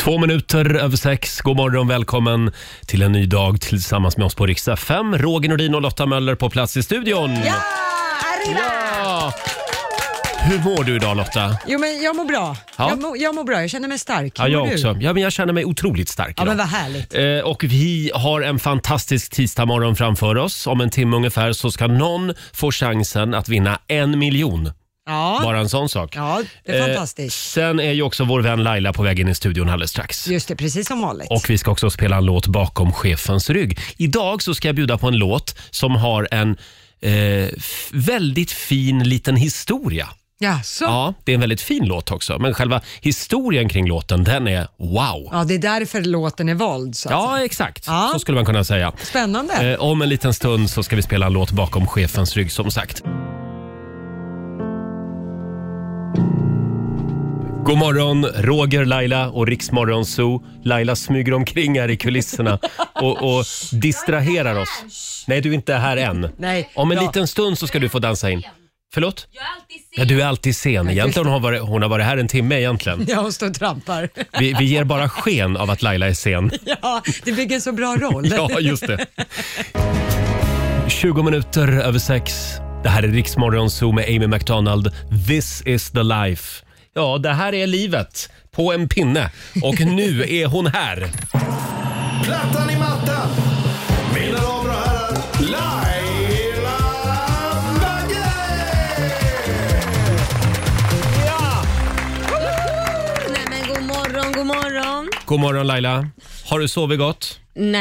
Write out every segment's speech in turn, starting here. Två minuter över sex. God morgon, välkommen till en ny dag tillsammans med oss på Riksdag 5. Roger Nordin och Lotta Möller på plats i studion. Ja, arriba! Ja. Hur mår du idag Lotta? Jo, men jag mår bra. Ja. Jag, mår, jag mår bra, jag känner mig stark. Ja, Hur jag mår du? också. Ja, men jag känner mig otroligt stark Ja, idag. men vad härligt. Eh, och vi har en fantastisk tisdagmorgon framför oss. Om en timme ungefär så ska någon få chansen att vinna en miljon. Ja, Bara en sån sak. ja det är Eh, fantastiskt. Sen är ju också vår vän Laila på väg in i studion alldeles strax. Just det, precis som vanligt. Och vi ska också spela en låt bakom chefens rygg. Idag så ska jag bjuda på en låt som har en eh, f- väldigt fin liten historia. ja, så. Ja. Ja, det är en väldigt fin låt också. Men själva historien kring låten, den är wow. det är därför låten är vald. Så. Ja, exakt. Ja. Så skulle man kunna säga. Spännande. Eh, om en liten stund så ska vi spela en låt bakom chefens rygg som sagt. God morgon, Roger, Laila och Riksmorgon Zoo. Laila smyger omkring här i kulisserna och, och distraherar oss. Nej, du är inte här än. Nej, Om en bra. liten stund så ska du få dansa in. Förlåt? Jag är alltid sen. Ja, du är alltid sen. Egentligen har hon varit, hon har varit här en timme egentligen. Ja, hon står och trampar. Vi, vi ger bara sken av att Laila är sen. ja, det bygger en så bra roll. Ja, just det. 20 minuter över sex. Det här är Riksmorgon Zoo med Amy McDonald. This is the life. Ja, det här är livet på en pinne och nu är hon här. Plattan i mattan. Mina damer och herrar, Laila Bagge! Nej men god morgon, god morgon. God morgon Laila. Har du sovit gott? Nej.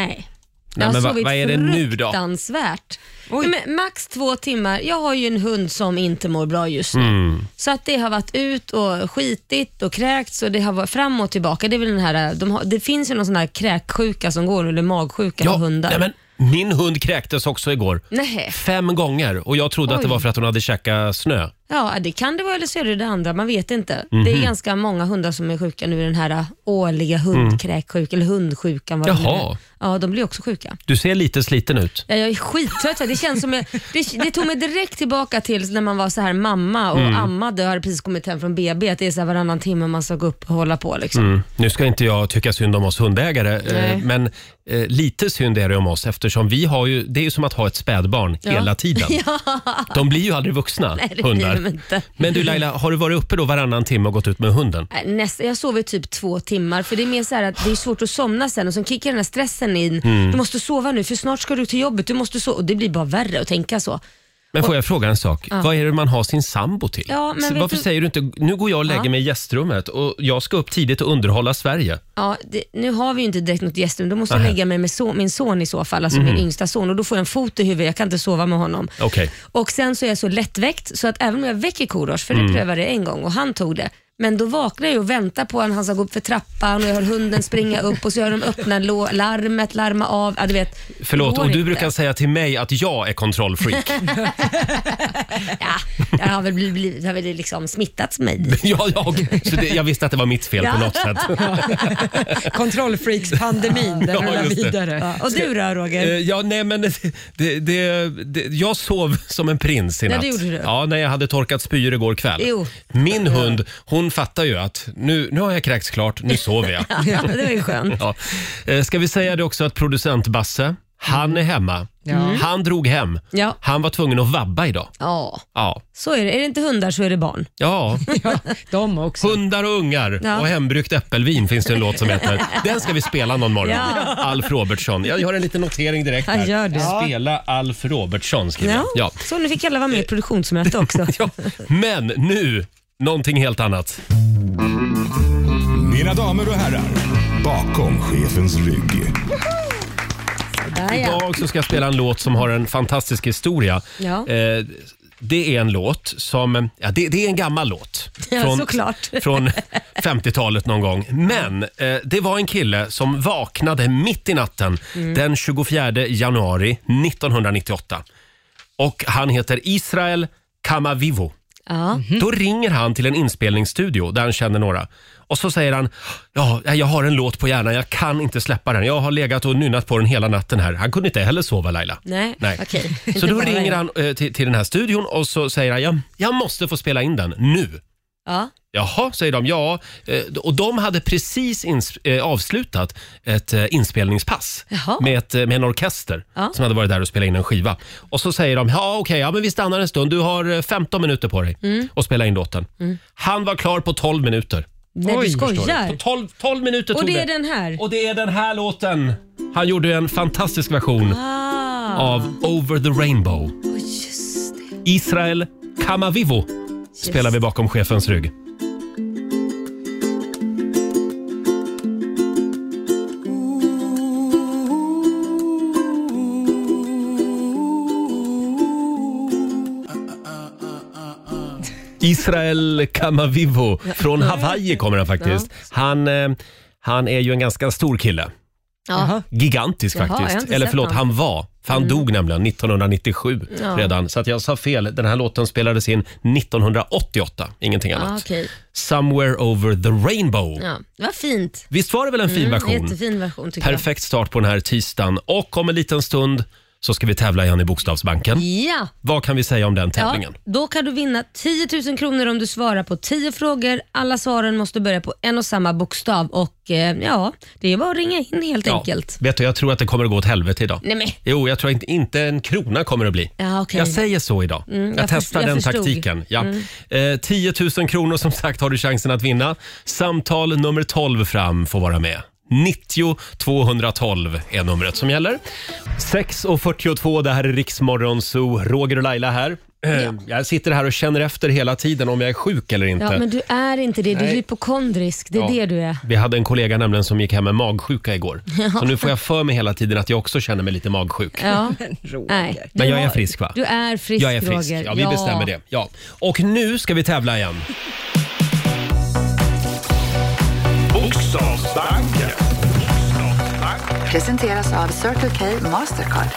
Nej, Jag har men va- sovit vad är det nu då? fruktansvärt. Nej, men max två timmar. Jag har ju en hund som inte mår bra just nu. Mm. Så att det har varit ut och skitit och kräkts och det har varit fram och tillbaka. Det, är väl den här, de har, det finns ju någon sån här kräksjuka som går, eller magsjuka med hundar. nej, men min hund kräktes också igår. Nej. Fem gånger och jag trodde att det Oj. var för att hon hade käkat snö. Ja, det kan det vara eller så är det det andra. Man vet inte. Det Mhm. är ganska många hundar som är sjuka nu i den här äh, årliga hundkräksjukan eller hundsjukan. Vad det nu Jaha. är. Ja, de blir också sjuka. Du ser lite sliten ut. Ja, jag är skittrött. va? Det, känns som jag, det, det tog mig direkt tillbaka till när man var så här mamma och Mm. ammade och hade precis kommit hem från BB. Att det är så här varannan timme man ska gå upp och hålla på. Liksom. Mm. Nu ska inte jag tycka synd om oss hundägare, eh, Nej. men eh, lite synd är det om oss eftersom vi har ju, det är ju som att ha ett spädbarn Ja. hela tiden. De blir ju aldrig vuxna, Nej, det blir hundar. de inte. Men du Laila, har du varit uppe då varannan timme och gått ut med hunden? Nej, Nästa, jag sover typ två timmar för det är mer så här att det är svårt att somna sen och sen kickar den här stressen in. Mm. Du måste sova nu för snart ska du till jobbet. Du måste sova. Och det blir bara värre att tänka så. Men får jag fråga en sak? Vad är det man har sin sambo till? Ja, men Så vet Varför du- säger du inte, nu går jag och lägger Ja. mig i gästrummet och jag ska upp tidigt och underhålla Sverige. Ja, det, nu har vi ju inte direkt något gästrum. Då måste jag Nej. Mm. lägga mig med so min son i så fall, alltså min yngsta son. Och Då får jag en fot i huvudet, jag kan inte sova med honom. Okej. Och Sen så är jag så lättväckt så att även om jag väcker Korosh, för Mm. det prövade jag en gång och han tog det, men då vaknar jag och väntar på honom. Han ska gå upp för trappan och jag hör hunden springa upp och så hör de öppna lå- larmet, larma av. Ja, du vet, det Förlåt, går och du inte. brukar säga till mig att jag är kontrollfreak. Ja, jag har väl, blivit, blivit- jag har väl liksom smittats mig. ja, jag, så det, jag visste att det var mitt fel på Ja. något sätt. Kontrollfreaks-pandemin, den Ja, rullar just det. vidare. Ja, och du då Roger? Eh, ja, nej, men det, det, det, det, jag sov som en prins i Nej, natt. det gjorde du. Ja, när jag hade torkat spyor igår kväll. Jo. Min hund, hon fattar ju att nu, nu har jag kräkts klart, nu sover jag. Ja, det var ju skönt. ja. Eh, Ska vi säga det också att producent Basse, han är hemma. Han drog hem. Ja. Han var tvungen att vabba idag. Ja, Ja, så är det. Är det inte hundar så är det barn. ja. De också. Hundar och ungar Ja. och hembryggt äppelvin finns det en låt som heter. Den ska vi spela någon morgon. Ja. Alf Robertsson. Jag gör en liten notering direkt här. Ja, gör det. Spela Alf Robertsson skriver jag. Ja. Så nu fick alla vara med i produktionsmöte också. Ja, men nu, någonting helt annat. Mina damer och herrar, bakom chefens rygg. Där, ja. Idag så ska jag spela en låt som har en fantastisk historia. Ja. Eh, det är en låt som, ja, det, det är en gammal låt. Ja, såklart. Från 50-talet någon gång. Men eh, det var en kille som vaknade mitt i natten Mm. den 24 januari 1998. Och han heter Israel Kamavivo. Ja. Då ringer han till en inspelningsstudio där han känner några. Och så säger han, ja, jag har en låt på hjärnan, jag kan inte släppa den. Jag har legat och nynnat på den hela natten här. Han kunde inte heller sova Laila. Nej, okej. Så Inte då bara ringer jag. han eh, till, till den här studion och så säger han, jag, jag måste få spela in den nu. Ja. Jaha, säger de. Ja, eh, och de hade precis ins- eh, avslutat ett eh, inspelningspass Jaha. med, ett, eh, med en orkester Ja. som hade varit där och spelat in en skiva. Och så säger de, ja okej, ja, men vi stannar en stund. Du har eh, 15 minuter på dig Mm. och spela in låten. Han var klar på 12 minuter. Nej, Oj, du förstår På skojar. 12, 12 minuter Och tog det är den här. Och det är den här låten. Han gjorde en fantastisk version Ah, av Over the Rainbow. oh, just det. Israel Kamavivo spelar vi bakom chefens rygg. Israel Kamavivo från Hawaii kommer han faktiskt. Han, eh, han är ju en ganska stor kille. Ja. Gigantisk Jaha, jag har faktiskt. inte Eller sett förlåt, honom. han var. För han dog nämligen 1997 Ja. redan. Så att jag sa fel. Den här låten spelades in 1988, ingenting annat. Ja, Ah, okej. Somewhere over the rainbow. Ja, det var fint. Visst var det väl en fin version? Jättefin version tycker Perfekt start på den här tisdagen. Och om en liten stund så ska vi tävla igen i Bokstavsbanken. jag. Ja. Vad kan vi säga om den ja, tävlingen? då kan du vinna 10 000 kronor om du svarar på 10 frågor. Alla svaren måste börja på en och samma bokstav och eh, ja, det är bara att ringa in helt enkelt. Vet du, jag tror att det kommer att gå åt helvete idag. Nej men, Jo, jag tror inte, inte en krona kommer det bli. ja okej. Mm, Jag säger så idag. jag, jag testar först- jag den förstod. Mm. taktiken. Ja. Eh, 10 000 kronor som sagt har du chansen att vinna. Samtal nummer 12 fram får vara med. 90 212 är numret som gäller. 6.42, det här är Riksmorgon Zoo. Roger och Laila här. Eh, Jag sitter här och känner efter hela tiden om jag är sjuk eller inte. Ja, men du är inte det, du är Nej. hypokondrisk. Det är Ja. det du är. Vi hade en kollega nämligen som gick hem med magsjuka igår. Så nu får jag för mig hela tiden att jag också känner mig lite magsjuk. Ja. Roger. Nej. Men Du jag är har- frisk, va? Du är frisk Jag är frisk. Roger. Ja, vi bestämmer det. Ja. Och nu ska vi tävla igen. Bokstavsbanken. Presenteras av Circle K Mastercard.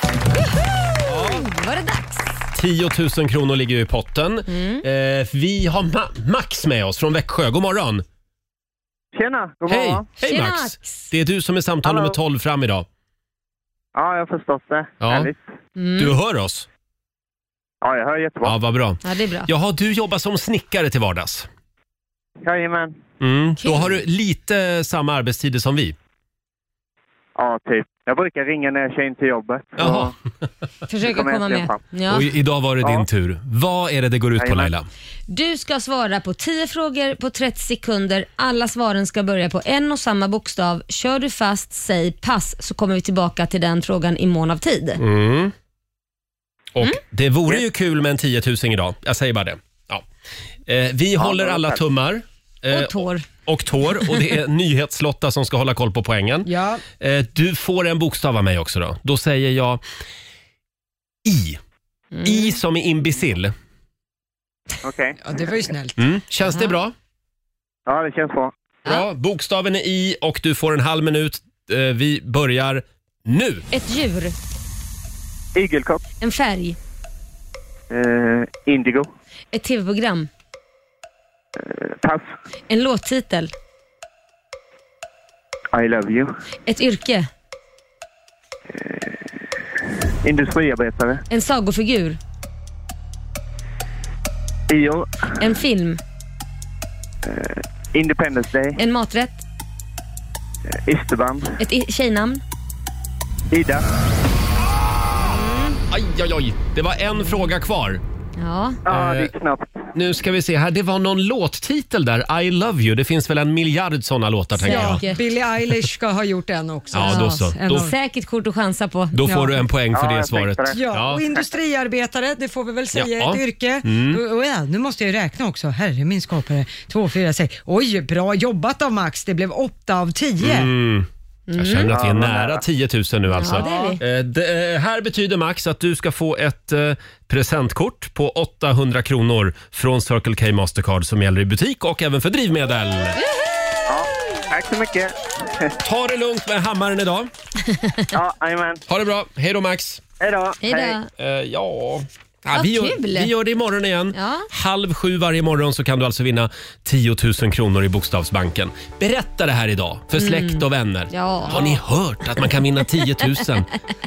Nu var det dags. 10 000 kronor ligger ju i potten. Mm. Eh, vi har Ma- Max med oss från Växjö. God morgon! Tjena, god Hej! morgon. Hej Tjena, Max! Max. Det är du som är samtal Hallå. nummer 12 fram idag. Ja, jag har förstått det. Ja. Härligt. Mm. Du hör oss? Ja, jag hör jättebra. Ja, vad bra. Ja, det är bra. Jaha, du jobbar som snickare till vardags. Jajamän. Mm. Då Kul. har du lite samma arbetstider som vi. Ja, typ. Jag brukar ringa när jag kör in till jobbet. Jaha. Så- Försök att kommer komma med. äntligen fram. Ja. Och i- idag var det Ja. din tur. Vad är det det går ut på Jajamän. Laila? Du ska svara på 10 frågor på 30 sekunder. Alla svaren ska börja på en och samma bokstav. Kör du fast, säg pass, så kommer vi tillbaka till den frågan i mån av tid. Mm. Och det vore ju kul med en 10 000 idag. Jag säger bara det. Ja. Eh, vi håller alla tack. tummar. eh, Och tår. och tår. Och det är Nyhetslotta som ska hålla koll på poängen. Ja, Eh, Du får en bokstav av mig också då. Då säger jag I. I som i imbecill. Okej. ja, det var ju snällt. Mm. Känns det Aha. bra? Ja, det känns bra. Bra. Bokstaven är I och du får en halv minut. Eh, Vi börjar nu. Ett djur. Igelkott. En färg. Eh, indigo. Ett tv-program. Eh, Pass. En låttitel. I love you. Ett yrke. Industriarbetare. En sagofigur. Io. En film. Independence Day. En maträtt. Isterband. Ett i- tjejnamn. Ida. Aj, aj, aj. Det var en fråga kvar. Ja. Ja, Eh. det är knappt. Nu ska vi se här. Det var någon låttitel där. I love you. Det finns väl en miljard sådana låtar tänker jag. Ja, Okej. Billie Eilish ska ha gjort en också. Ja, då så. En Då- av- Säkert kort att chansa på. Då får Ja. du en poäng för Ja, det jag svaret. tänkte det. Ja, och industriarbetare, det får vi väl säga, Ja. Mm. ett yrke. Och, och, ja, nu måste jag ju räkna också, herre min skapare. Två, fyra, sex. Oj, bra jobbat av Max, det blev åtta av tio. Mm. Jag känner att vi är Ja, vad nära nära. 10 000 nu alltså. Ja, det är vi. Eh, det, eh, här betyder Max att du ska få ett eh, presentkort på 800 kronor från Circle K Mastercard som gäller i butik och även för drivmedel. Ja, tack så mycket. Ta det lugnt med hammaren idag. Ja, jajamän. Ha det bra. Hej då Max. Hej då. Hej då. Eh, ja... Ja, Vad vi, gör, kul. vi gör det imorgon igen. Ja. Halv sju varje morgon så kan du alltså vinna 10 000 kronor i Bokstavsbanken. Berätta det här idag för släkt och vänner. Mm. Ja. Har ni hört att man kan vinna 10 000?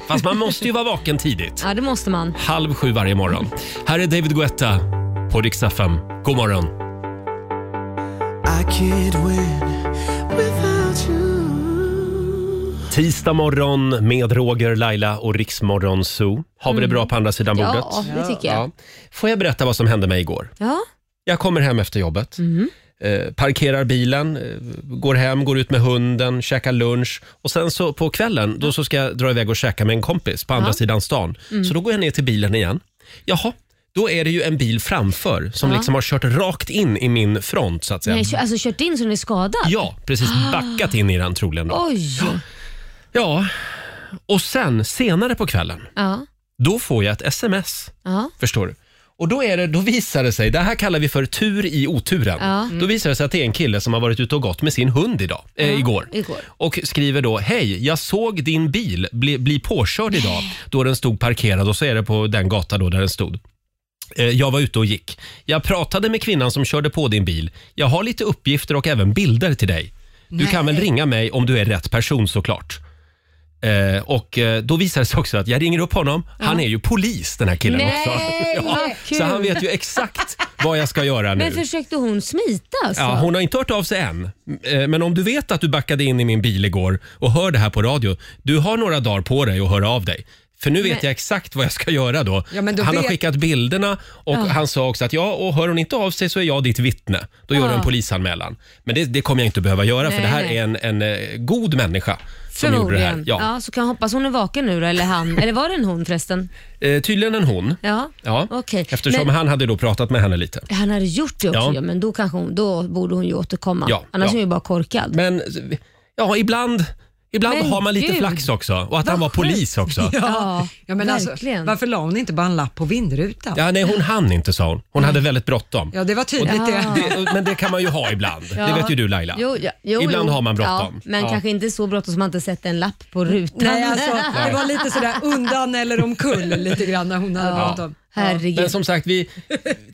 Fast man måste ju vara vaken tidigt. Ja, det måste man. halv sju varje morgon. Här är David Guetta på Rix FM. God morgon! could win without you. Tisdag morgon med Roger, Laila och Riksmorgon Zoo. Har vi det bra på andra sidan bordet? Mm. Ja, det tycker jag. Ja. Får jag berätta vad som hände mig igår? Ja. Jag kommer hem efter jobbet, eh, parkerar bilen, eh, går hem, går ut med hunden, käkar lunch och sen så på kvällen då så ska jag dra iväg och käka med en kompis på andra sidan stan. Så då går jag ner till bilen igen. Jaha, då är det ju en bil framför som liksom har kört rakt in i min front så att säga. Nej, kö- alltså kört in så den är skadad? Ja, precis. Backat in i den troligen. Då. Oj! Ja, och sen senare på kvällen, Ja. då får jag ett sms. Ja. Förstår du? Och då, är det, då visar det sig, det här kallar vi för tur i oturen. Ja. Då visar det sig att det är en kille som har varit ute och gått med sin hund idag, eh, igår. igår. Och skriver då, hej, jag såg din bil bli, bli påkörd idag då den stod parkerad och så är det på den gata då där den stod. Eh, Jag var ute och gick. Jag pratade med kvinnan som körde på din bil. Jag har lite uppgifter och även bilder till dig. Du kan väl ringa mig om du är rätt person såklart. Eh, och eh, då visar det sig också att jag ringer upp honom. Han är ju polis den här killen Nej, också. vad kul. så han vet ju exakt vad jag ska göra nu. Men försökte hon smita alltså? Ja, hon har inte hört av sig än. Eh, Men om du vet att du backade in i min bil igår och hör det här på radio. Du har några dagar på dig att höra av dig. För nu vet Men- jag exakt vad jag ska göra då. Ja, men då han har vet- skickat bilderna och han sa också att ja, och hör hon inte av sig så är jag ditt vittne. Då gör du en polisanmälan. Men det, det kommer jag inte behöva göra för Nej, det här nej. är en, en eh, god människa som gjorde det här. Förmodligen. Ja. så kan jag hoppas hon är vaken nu då, eller han. eller var det en hon förresten? Eh, tydligen en hon. Ja, Ja. okej. Eftersom Men- han hade då pratat med henne lite. Han hade gjort det också, Ja. ja. men då, kanske hon, då borde hon ju återkomma. Ja, Annars ja. är hon ju bara korkad. Men ja, ibland, ibland Men har man lite gud. flax också. Och att han var Vad polis också. Ja. Ja, ja, men alltså, verkligen. varför la hon inte bara en lapp på vindrutan? Ja, nej, hon hann inte sa hon. Hon hade väldigt bråttom. det var tydligt det. Det, men det kan man ju ha ibland. Det Ja. vet ju du Laila. Jo, ja, jo, ibland jo. har man bråttom. Ja, men Ja. kanske inte så bråttom som man inte sett en lapp på rutan. Nej, alltså, det var lite sådär undan eller omkull lite grann när hon hade bråttom. Herregud. Men som sagt, vi,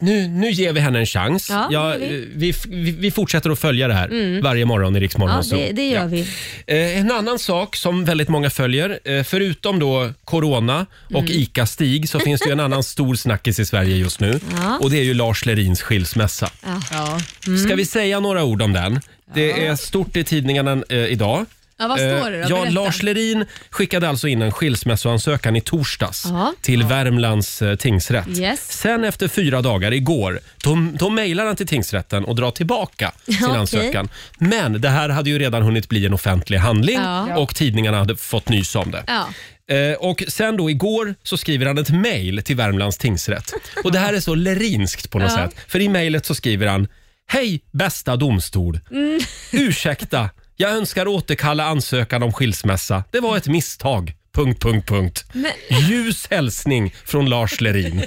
nu, nu ger vi henne en chans. Ja, det Ja, gör vi. Mm. eh, vi, f- vi, vi fortsätter att följa det här varje morgon i Rix Morgon Ja, Zoo. det, det gör Ja. vi. Eh, En annan sak som väldigt många följer, eh, förutom då corona och Mm. ICA-Stig, så finns det ju en annan stor snackis i Sverige just nu. Och det är ju Lars Lerins skilsmässa. Ja. Mm. Ska vi säga några ord om den? Det är stort i tidningarna eh, idag. Ja, vad står det då? Eh, Ja, Berätta. Lars Lerin skickade alltså in en skilsmässoansökan i torsdags Ja. till Värmlands eh, tingsrätt. Yes. Sen efter fyra dagar, igår, då, då mejlar han till tingsrätten och drar tillbaka sin Okej. ansökan. Men det här hade ju redan hunnit bli en offentlig handling Ja. och tidningarna hade fått nys om det. Ja. Eh, och sen då igår så skriver han ett mejl till Värmlands tingsrätt. Och det här är så lerinskt på något Ja. sätt. För i mejlet så skriver han Hej bästa domstol! Mm. Ursäkta, jag önskar återkalla ansökan om skilsmässa. Det var ett misstag. Punkt, punkt, punkt. Men- Ljus hälsning från Lars Lerin.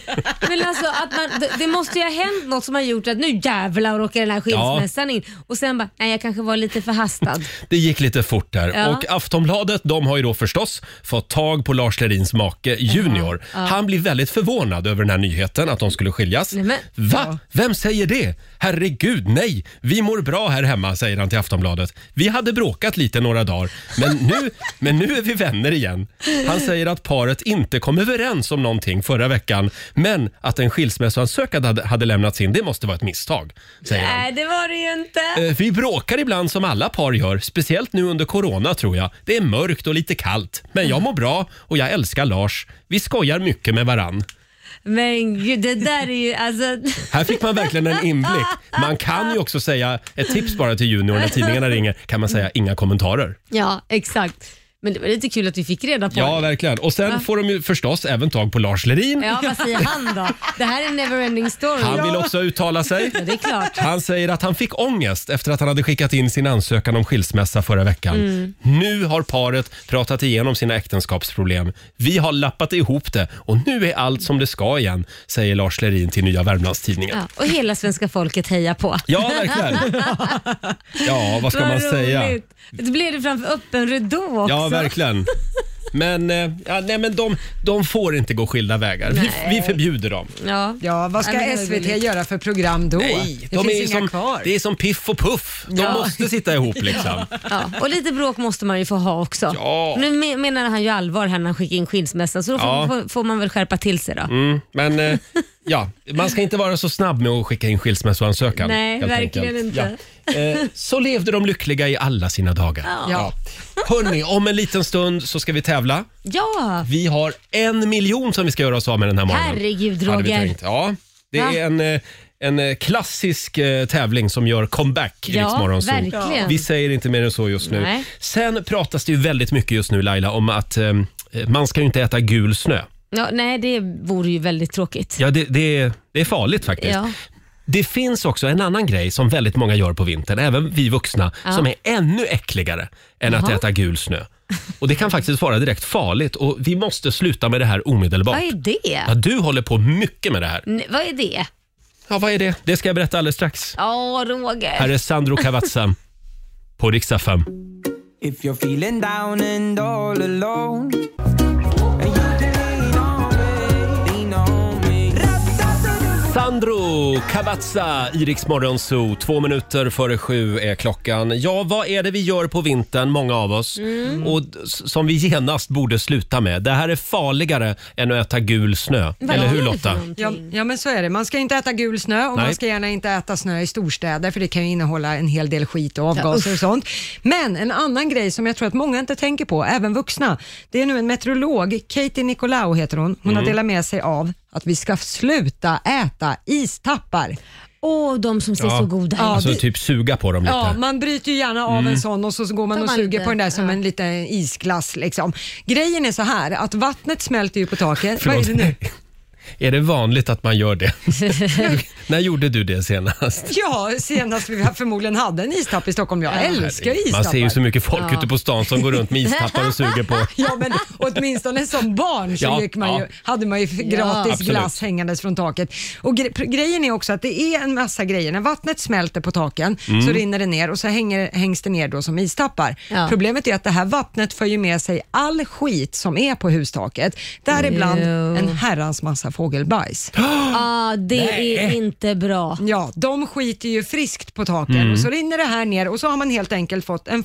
Men alltså, att man, det, det måste ju ha hänt något som har gjort att nu jävlar åker den här skilsmässan in. Och sen bara, nej jag kanske var lite förhastad. Det gick lite fort där. Ja. Och Aftonbladet de har ju då förstås fått tag på Lars Lerins make Junior. Han blir väldigt förvånad över den här nyheten att de skulle skiljas. Nej, men- Va? Vem säger det? Herregud, nej! Vi mår bra här hemma, säger han till Aftonbladet. Vi hade bråkat lite några dagar, men nu, men nu är vi vänner igen. Han säger att paret inte kom överens om någonting förra veckan, men att en skilsmässoansökan hade, hade lämnats in, det måste vara ett misstag, säger han. Nej det var det ju inte. Eh, Vi bråkar ibland som alla par gör, speciellt nu under corona tror jag. Det är mörkt och lite kallt, men jag mår bra och jag älskar Lars. Vi skojar mycket med varann. Men gud, det där är ju alltså. Här fick man verkligen en inblick. Man kan ju också säga, ett tips bara till junior när tidningarna ringer, kan man säga inga kommentarer. Ja exakt. Men det var lite kul att vi fick reda på Ja, det. verkligen. Och sen får de ju förstås även tag på Lars Lerin. Ja, vad säger han då? Det här är en neverending story. Han vill också uttala sig. Ja, det är klart. Han säger att han fick ångest efter att han hade skickat in sin ansökan om skilsmässa förra veckan. Nu har paret pratat igenom sina äktenskapsproblem. Vi har lappat ihop det och nu är allt som det ska igen, säger Lars Lerin till Nya Värmlandstidningen. Ja, och hela svenska folket hejar på. Ja, verkligen. Ja, vad ska man säga? roligt. Det blev det framför öppen ridå också. Ja, verkligen. Men, eh, ja, nej, men de, de får inte gå skilda vägar. Vi, vi förbjuder dem. Ja. Ja, vad Ja, men det ska var SVT roligt. göra för program då? Nej, det de finns är inga som, kvar. det är som Piff och Puff. De Ja. måste sitta ihop liksom. Ja, och lite bråk måste man ju få ha också. Ja. Nu me- menar han ju allvar här när han skickar in skilsmässan så då får, Ja. får, får man väl skärpa till sig då. Mm, men eh, ja, man ska inte vara så snabb med att skicka in skilsmässoansökan. Nej, helt verkligen enkelt. inte. Eh, så levde de lyckliga i alla sina dagar. Ja. Hörni, om en liten stund så ska vi tävla. Ja, Vi har en miljon som vi ska göra oss av med den här morgonen. herregud hade vi Roger. tänkt. Ja, det Va? är en, eh, en eh, klassisk eh, tävling som gör comeback i Ja, Rix Morgon Zoo. verkligen. Vi säger inte mer än så just nu. Nej. Sen pratas det ju väldigt mycket just nu Laila om att eh, man ska ju inte äta gul snö. Ja, nej, det vore ju väldigt tråkigt. Ja, det, det, är- det är farligt faktiskt. Ja. Det finns också en annan grej som väldigt många gör på vintern, även vi vuxna, som är ännu äckligare än att äta gul snö. Och Det kan faktiskt vara direkt farligt och vi måste sluta med det här omedelbart. Vad är Ja, det? du håller på mycket med det här. N- Vad är det? Ja, vad är det? Det ska jag berätta alldeles strax. Ja, Här Roger. är Sandro Cavazza på riksdag 5. If you're feeling down and all alone Sandro Cavazza i Rix Morgon Zoo. Två minuter före sju är klockan. Ja, vad är det vi gör på vintern, många av oss, Mm. och d- s- som vi genast borde sluta med? Det här är farligare än att äta gul snö. Vad Eller är hur det för Lotta? någonting? Ja, ja men så är det. Man ska inte äta gul snö och Nej. man ska gärna inte äta snö i storstäder för det kan ju innehålla en hel del skit och avgaser och sånt. Men en annan grej som jag tror att många inte tänker på, även vuxna, det är nu en meteorolog, Katie Nicolau heter hon, hon har delat med sig av att vi ska sluta äta istappar. Åh, de som ser Ja. så goda ut. Alltså det- typ suga på dem lite. Ja, man bryter ju gärna av en sån och så så går man Tar och man suger lite, på den där som ja. en liten isglass. Liksom. Grejen är så här att vattnet smälter ju på taket. Vad är Förlåt. det nu? Är det vanligt att man gör det? När gjorde du det senast? Ja, senast vi förmodligen hade en istapp i Stockholm. Jag älskar ju istappar. Man ser ju så mycket folk ute på stan som går runt med istappar och suger på. Ja, men åtminstone som barn så Ja, gick man ju, ja. hade man ju gratis absolut. glass hängandes från taket. Och gre grejen är också att det är en massa grejer. När vattnet smälter på taken Mm. så rinner det ner och så hänger, hängs det ner då som istappar. Ja. Problemet är att det här vattnet för ju med sig all skit som är på hustaket. Däribland Ew. en herrans massa fågelbajs. Ah, det är inte bra. Ja, de skiter ju friskt på taken Mm. och så rinner det här ner och så har man helt enkelt fått en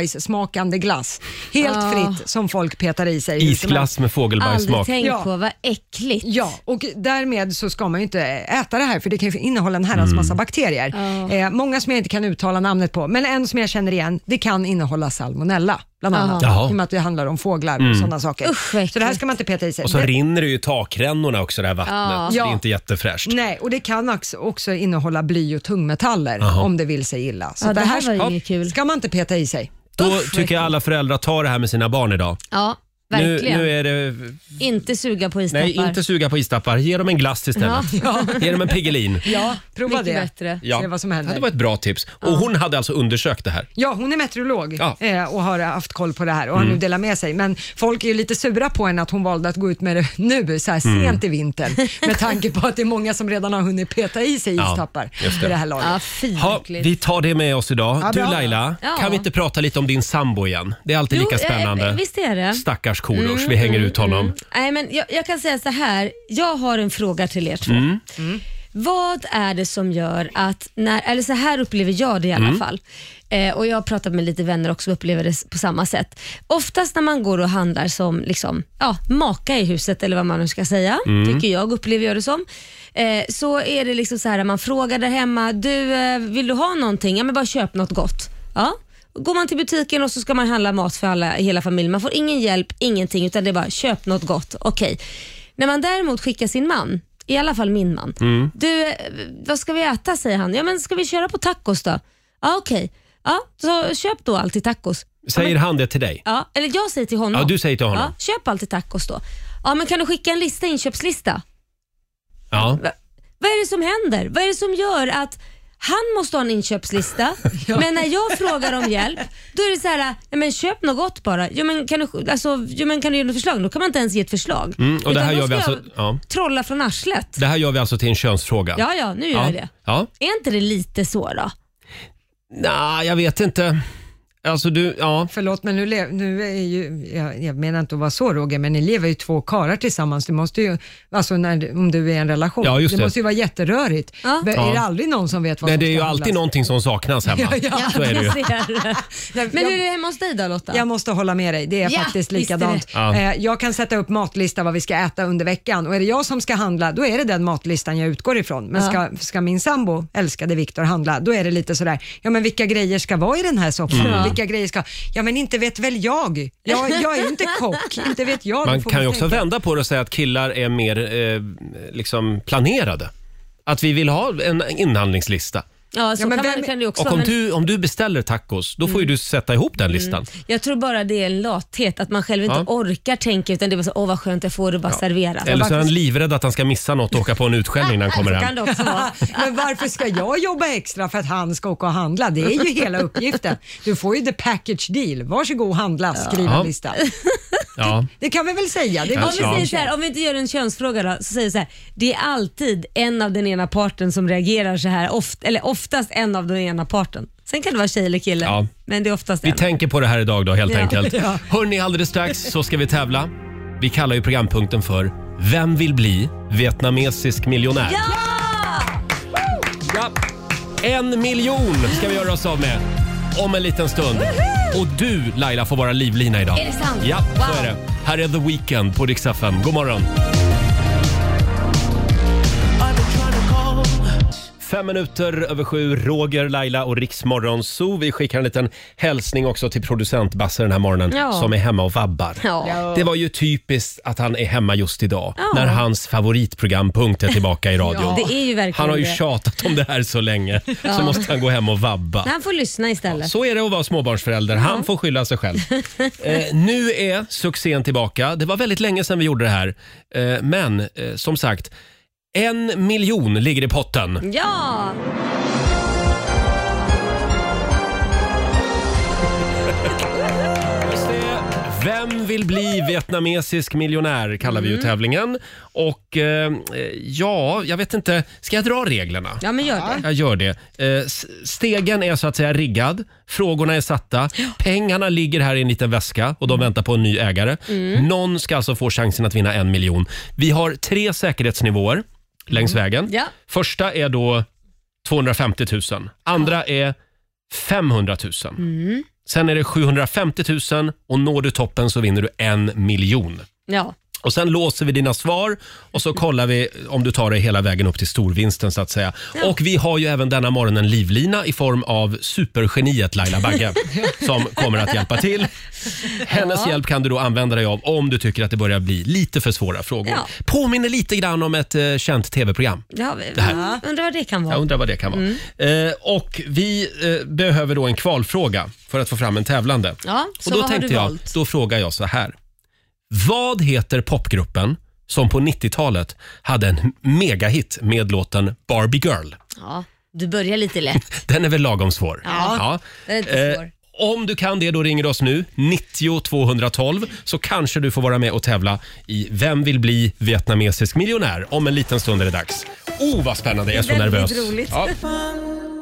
fågelbajssmakande glass. Helt Ah. fritt som folk petar i sig. hur som helst. Isglass med Aldrig fågelbajssmak. tänkt Ja. på, vad äckligt. Ja, och därmed så ska man ju inte äta det här för det kan ju innehålla en herrans Mm. massa bakterier. Ja. Eh, många som jag inte kan uttala namnet på, men en som jag känner igen, det kan innehålla salmonella bland annat. Jaha. Mm. I och med att det handlar om fåglar och sådana saker. Ah. Usch, vad så det här ska man inte peta i sig. Och så Det- rinner det ju i takrännorna också det här vattnet. Ja. Det är inte jättefräscht. Nej, och det kan också- också innehålla bly och tungmetaller Jaha. om det vill sig illa. Så Ja, det här det här var ska, inget kul. ska man inte peta i sig. Då Usch, tycker jag alla föräldrar tar det här med sina barn idag. Ja, Nu, verkligen. nu är det... Inte suga på istappar. Nej, inte suga på istappar. Ge dem en glass istället. Ge dem en Piggelin. Ja, prova Mycket det. bättre. Ja. Se vad som händer. Det var ett bra tips. Och hon hade alltså undersökt det här. Ja, hon är meteorolog Ja. Mm. eh, och har haft koll på det här och har nu delat med sig. Men folk är ju lite sura på henne att hon valde att gå ut med det nu, så här sent Mm. i vintern. Med tanke på att det är många som redan har hunnit peta i sig Ja, istappar just det. i det här laget. Ja, fy Ha, äckligt. vi tar det med oss idag. Ja, du bra. Laila, Ja. kan vi inte prata lite om din sambo igen? Det är alltid Jo, lika spännande. eh, visst är det. Mm, Stackars Korosh, vi hänger ut honom. Nej, men jag, jag kan säga så här. Jag har en fråga till er två. Mm. Vad är det som gör att, när, eller så här upplever jag det i alla fall, eh, och jag har pratat med lite vänner också som upplever det s- på samma sätt. Oftast när man går och handlar som liksom, ja, maka i huset eller vad man nu ska säga, tycker jag upplever jag det som, eh, så är det liksom så här man frågar där hemma, du eh, vill du ha någonting? Ja men bara köp något gott. Ja, går man till butiken och så ska man handla mat för alla, hela familjen. Man får ingen hjälp, ingenting, utan det är bara köp något gott. Okej. När man däremot skickar sin man, i alla fall min man. Mm. Du, eh, vad ska vi äta säger han. Ja men ska vi köra på tacos då? Ja okej. Ja, så köp då alltid tacos. Säger han det till dig? Ja, eller jag säger till honom. Ja, du säger till honom. Ja, köp alltid tacos då. Ja men kan du skicka en lista, inköpslista? Ja. Va- Vad är det som händer? Vad är det som gör att han måste ha en inköpslista, men när jag frågar om hjälp, då är det så här, "Nej, men köp något gott bara. Jo men kan du, alltså, jo, men kan du ge något förslag? Då kan man inte ens ge ett förslag. Mm, och det Utan här då gör vi ska alltså... jag Ja. trolla från arslet. Det här gör vi alltså till en könsfråga. Ja, ja, nu gör ja. jag det. Ja. Är inte det lite så då? Nej, jag vet inte. Alltså du, ja. Förlåt, men nu, le- nu är ju, jag, jag menar inte att vara så Roger, men ni lever ju två karlar tillsammans. Du måste ju, alltså när, om du är i en relation, Ja, just det. måste ju vara jätterörigt. Ja. Be- Ja. Är det aldrig någon som vet vad Nej, som det är ju ska alltid handlas? någonting som saknas hemma. Ja, ja. Så är det ju. Nej, Men jag- hur är det hemma hos dig då Lotta? Jag måste hålla med dig, det är Ja, faktiskt visst är det. likadant. Ja. Eh, Jag kan sätta upp matlista vad vi ska äta under veckan och är det jag som ska handla, då är det den matlistan jag utgår ifrån. Men Ja. ska, ska min sambo, älskade Viktor, handla, då är det lite sådär, ja men vilka grejer ska vara i den här soppan? Mm. Vilka grejer ska, ja men inte vet väl jag? Jag, jag är ju inte kock, inte vet jag. Man Då får kan ju också tänka. vända på det och säga att killar är mer eh, liksom planerade. Att vi vill ha en inhandlingslista. Ja, så Ja, men kan, vem- man, kan det ju också Och vara, om men du, om du beställer tacos, då får Mm. ju du sätta ihop den listan. Alltså, Jag tror bara det är en lathet, att man själv inte Ja. orkar tänka utan det är bara så, åh vad skönt jag får det bara serverat. Eller så är han livrädd att han ska missa något och åka på en utskällning när han kommer Så kan hem. det också vara. Men varför ska jag jobba extra för att han ska åka och handla? Det är ju hela uppgiften. Du får ju the package deal. Varsågod och handla, skriv Ja. en lista. Ja. Det kan vi väl säga. Det är Ja, väl Om vi, ja. säger så här, om vi inte gör en könsfråga då, så säger vi så här. Det är alltid en av den ena parten som reagerar så här, oft, eller oftast en av den ena parten. Sen kan det vara tjej eller kille, Ja. men det är oftast Vi en. tänker på det här idag då helt Ja. enkelt. Ja. Hörni, alldeles strax så ska vi tävla. Vi kallar ju programpunkten för Vem vill bli vietnamesisk miljonär? Ja! Ja. En miljon ska vi göra oss av med om en liten stund. Och du Laila får vara livlina idag. Är det sant? Ja, så Wow. är det. Här är The Weeknd på Dix FM. God morgon. Fem minuter över sju, Roger, Laila och Riksmorgon Zoo. Vi skickar en liten hälsning också till producent Basse den här morgonen Ja. som är hemma och vabbar. Ja. Det var ju typiskt att han är hemma just idag när hans favoritprogrampunkt är tillbaka i radion. Det är ju verkligen Han har ju det. tjatat om det här så länge. Så måste han gå hem och vabba. Han får lyssna istället. Så är det att vara småbarnsförälder. Han får skylla sig själv. eh, nu är succén tillbaka. Det var väldigt länge sedan vi gjorde det här. Eh, men eh, som sagt, en miljon ligger i Mm. potten. Ja! Vem vill bli vietnamesisk miljonär kallar Mm. vi ju tävlingen. Och eh, ja, jag vet inte. Ska jag dra reglerna? Ja men gör det. Jag gör det. Eh, s- Stegen är så att säga riggad. Frågorna är satta. Pengarna ligger här i en liten väska och de Mm. väntar på en ny ägare. Någon ska alltså få chansen att vinna en miljon. Vi har tre säkerhetsnivåer längs vägen. Mm. Ja. Första är då 250 000. Andra är 500 000. Mm. Sen är det 750 000 och når du toppen så vinner du en miljon. Ja. Och Sen låser vi dina svar och så kollar vi om du tar dig hela vägen upp till storvinsten. så att säga. Och Vi har ju även denna morgon en livlina i form av supergeniet Laila Bagge som kommer att hjälpa till. Hennes hjälp kan du då använda dig av om du tycker att det börjar bli lite för svåra frågor. Ja. Påminner lite grann om ett eh, känt tv-program. ja vi- Det här. mm, Undrar vad det kan Jag vara. undrar vad det kan vara. Mm. Eh, och vi eh, behöver då en kvalfråga för att få fram en tävlande. Ja, så och då vad har tänkte du jag, valt? då frågar jag så här. Vad heter popgruppen som på 90-talet hade en megahit med låten Barbie Girl? Ja, du börjar lite lätt. Den är väl lagom svår? Eh, Ja, den är inte svår. om du kan det, då ringer du oss nu, 90 212, så kanske du får vara med och tävla i Vem vill bli vietnamesisk miljonär? Om en liten stund är det dags. Oh, vad spännande! Jag är så Väldigt nervös. roligt. Ja.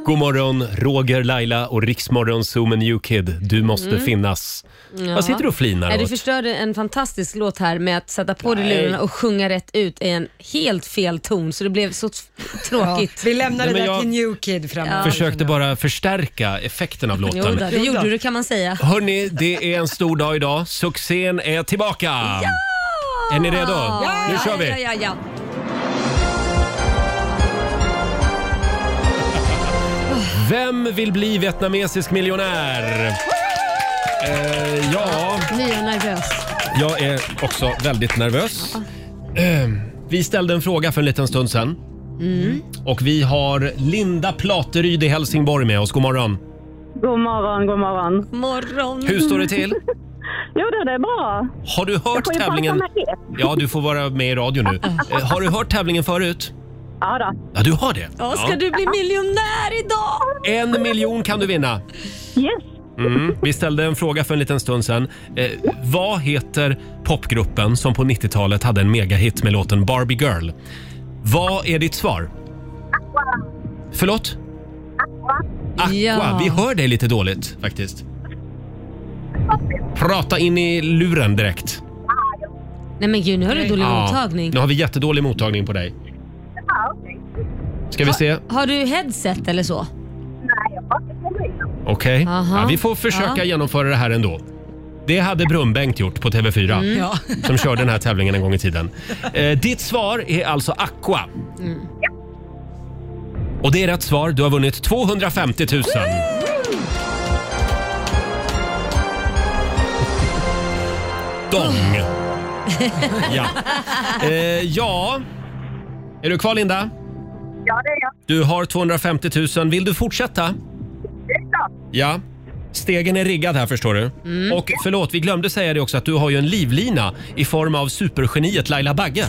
God morgon, Roger, Laila och Riksmorgon Zoom and New Kid. Du måste finnas. Vad sitter du och flinar Mm. Nej, du åt? förstörde en fantastisk låt här med att sätta på dig lurarna och sjunga rätt ut i en helt fel ton så det blev så t- Ja, tråkigt. vi lämnar det Nej, men där jag- till New Kid framöver. Försökte bara förstärka effekten av Jo, då, låten. det gjorde du kan man säga. Hörni, det är en stor dag idag. Succén är tillbaka! Ah! Är ni redo? Ja, nu ja, kör vi! Ja, ja, ja. Vem vill bli vietnamesisk miljonär? Eh, ja, Nu är jag nervös. jag är också väldigt nervös. Eh, vi ställde en fråga för en liten stund sedan. Mm. Och vi har Linda Plateryd i Helsingborg med oss. God morgon. God morgon, god morgon. Morgon. Hur står det till? Jo då, det är bra. Har du hört Får jag tävlingen? prata med er? Ja, du får vara med i radio nu. Eh, har du hört tävlingen förut? Ja då. Ja, du har det. Ja, ska du bli miljonär idag? En miljon kan du vinna. Yes. Mm. Vi ställde en fråga för en liten stund sedan. Eh, vad heter popgruppen som på 90-talet hade en megahit med låten Barbie Girl? Vad är ditt svar? Förlåt? Aqua. Ja. Vi hör dig lite dåligt faktiskt. Prata in i luren direkt. Nej men gud, nu har du dålig Ja, mottagning. Nu har vi jättedålig mottagning på dig. Ska vi se? Har du headset eller så? Okej. Aha. Ja, vi får försöka Ja. genomföra det här ändå. Det hade Brunnbänkt gjort på TV4 Mm. Ja. som körde den här tävlingen en gång i tiden. Eh, ditt svar är alltså Aqua. Mm. Och det är rätt svar. Du har vunnit 250 000. Dong. ja. Eh, ja. Är du kvar Linda? Ja, det är jag. Du har 250 000. Vill du fortsätta? Ja. Stegen är riggad här förstår du. Mm. Och förlåt, vi glömde säga det också att du har ju en livlina i form av supergeniet Laila Bagge.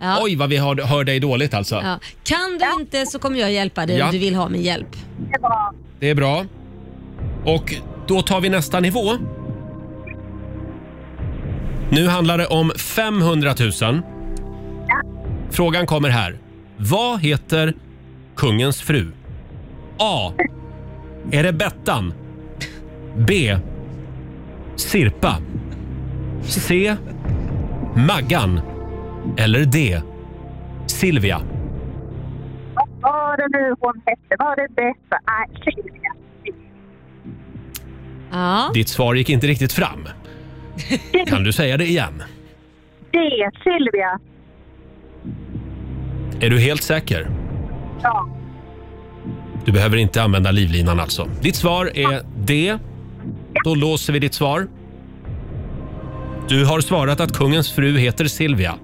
Ja. Oj vad vi hör, hör dig dåligt alltså. Ja. Kan du inte så kommer jag hjälpa dig Ja. om du vill ha min hjälp. Det är bra. Och då tar vi nästa nivå. Nu handlar det om 500 000. Frågan kommer här. Vad heter kungens fru? A. Är det Bettan? B. Sirpa. C. Maggan. Eller D. Silvia. Vad var det nu hon hette? Var det bästa? Äh, Nej, Silvia. Ja. Ditt svar gick inte riktigt fram. Kan du säga det igen? Det, Silvia. Är du helt säker? Ja. Du behöver inte använda livlinan alltså. Ditt svar är D. Då låser vi ditt svar. Du har svarat att kungens fru heter Silvia.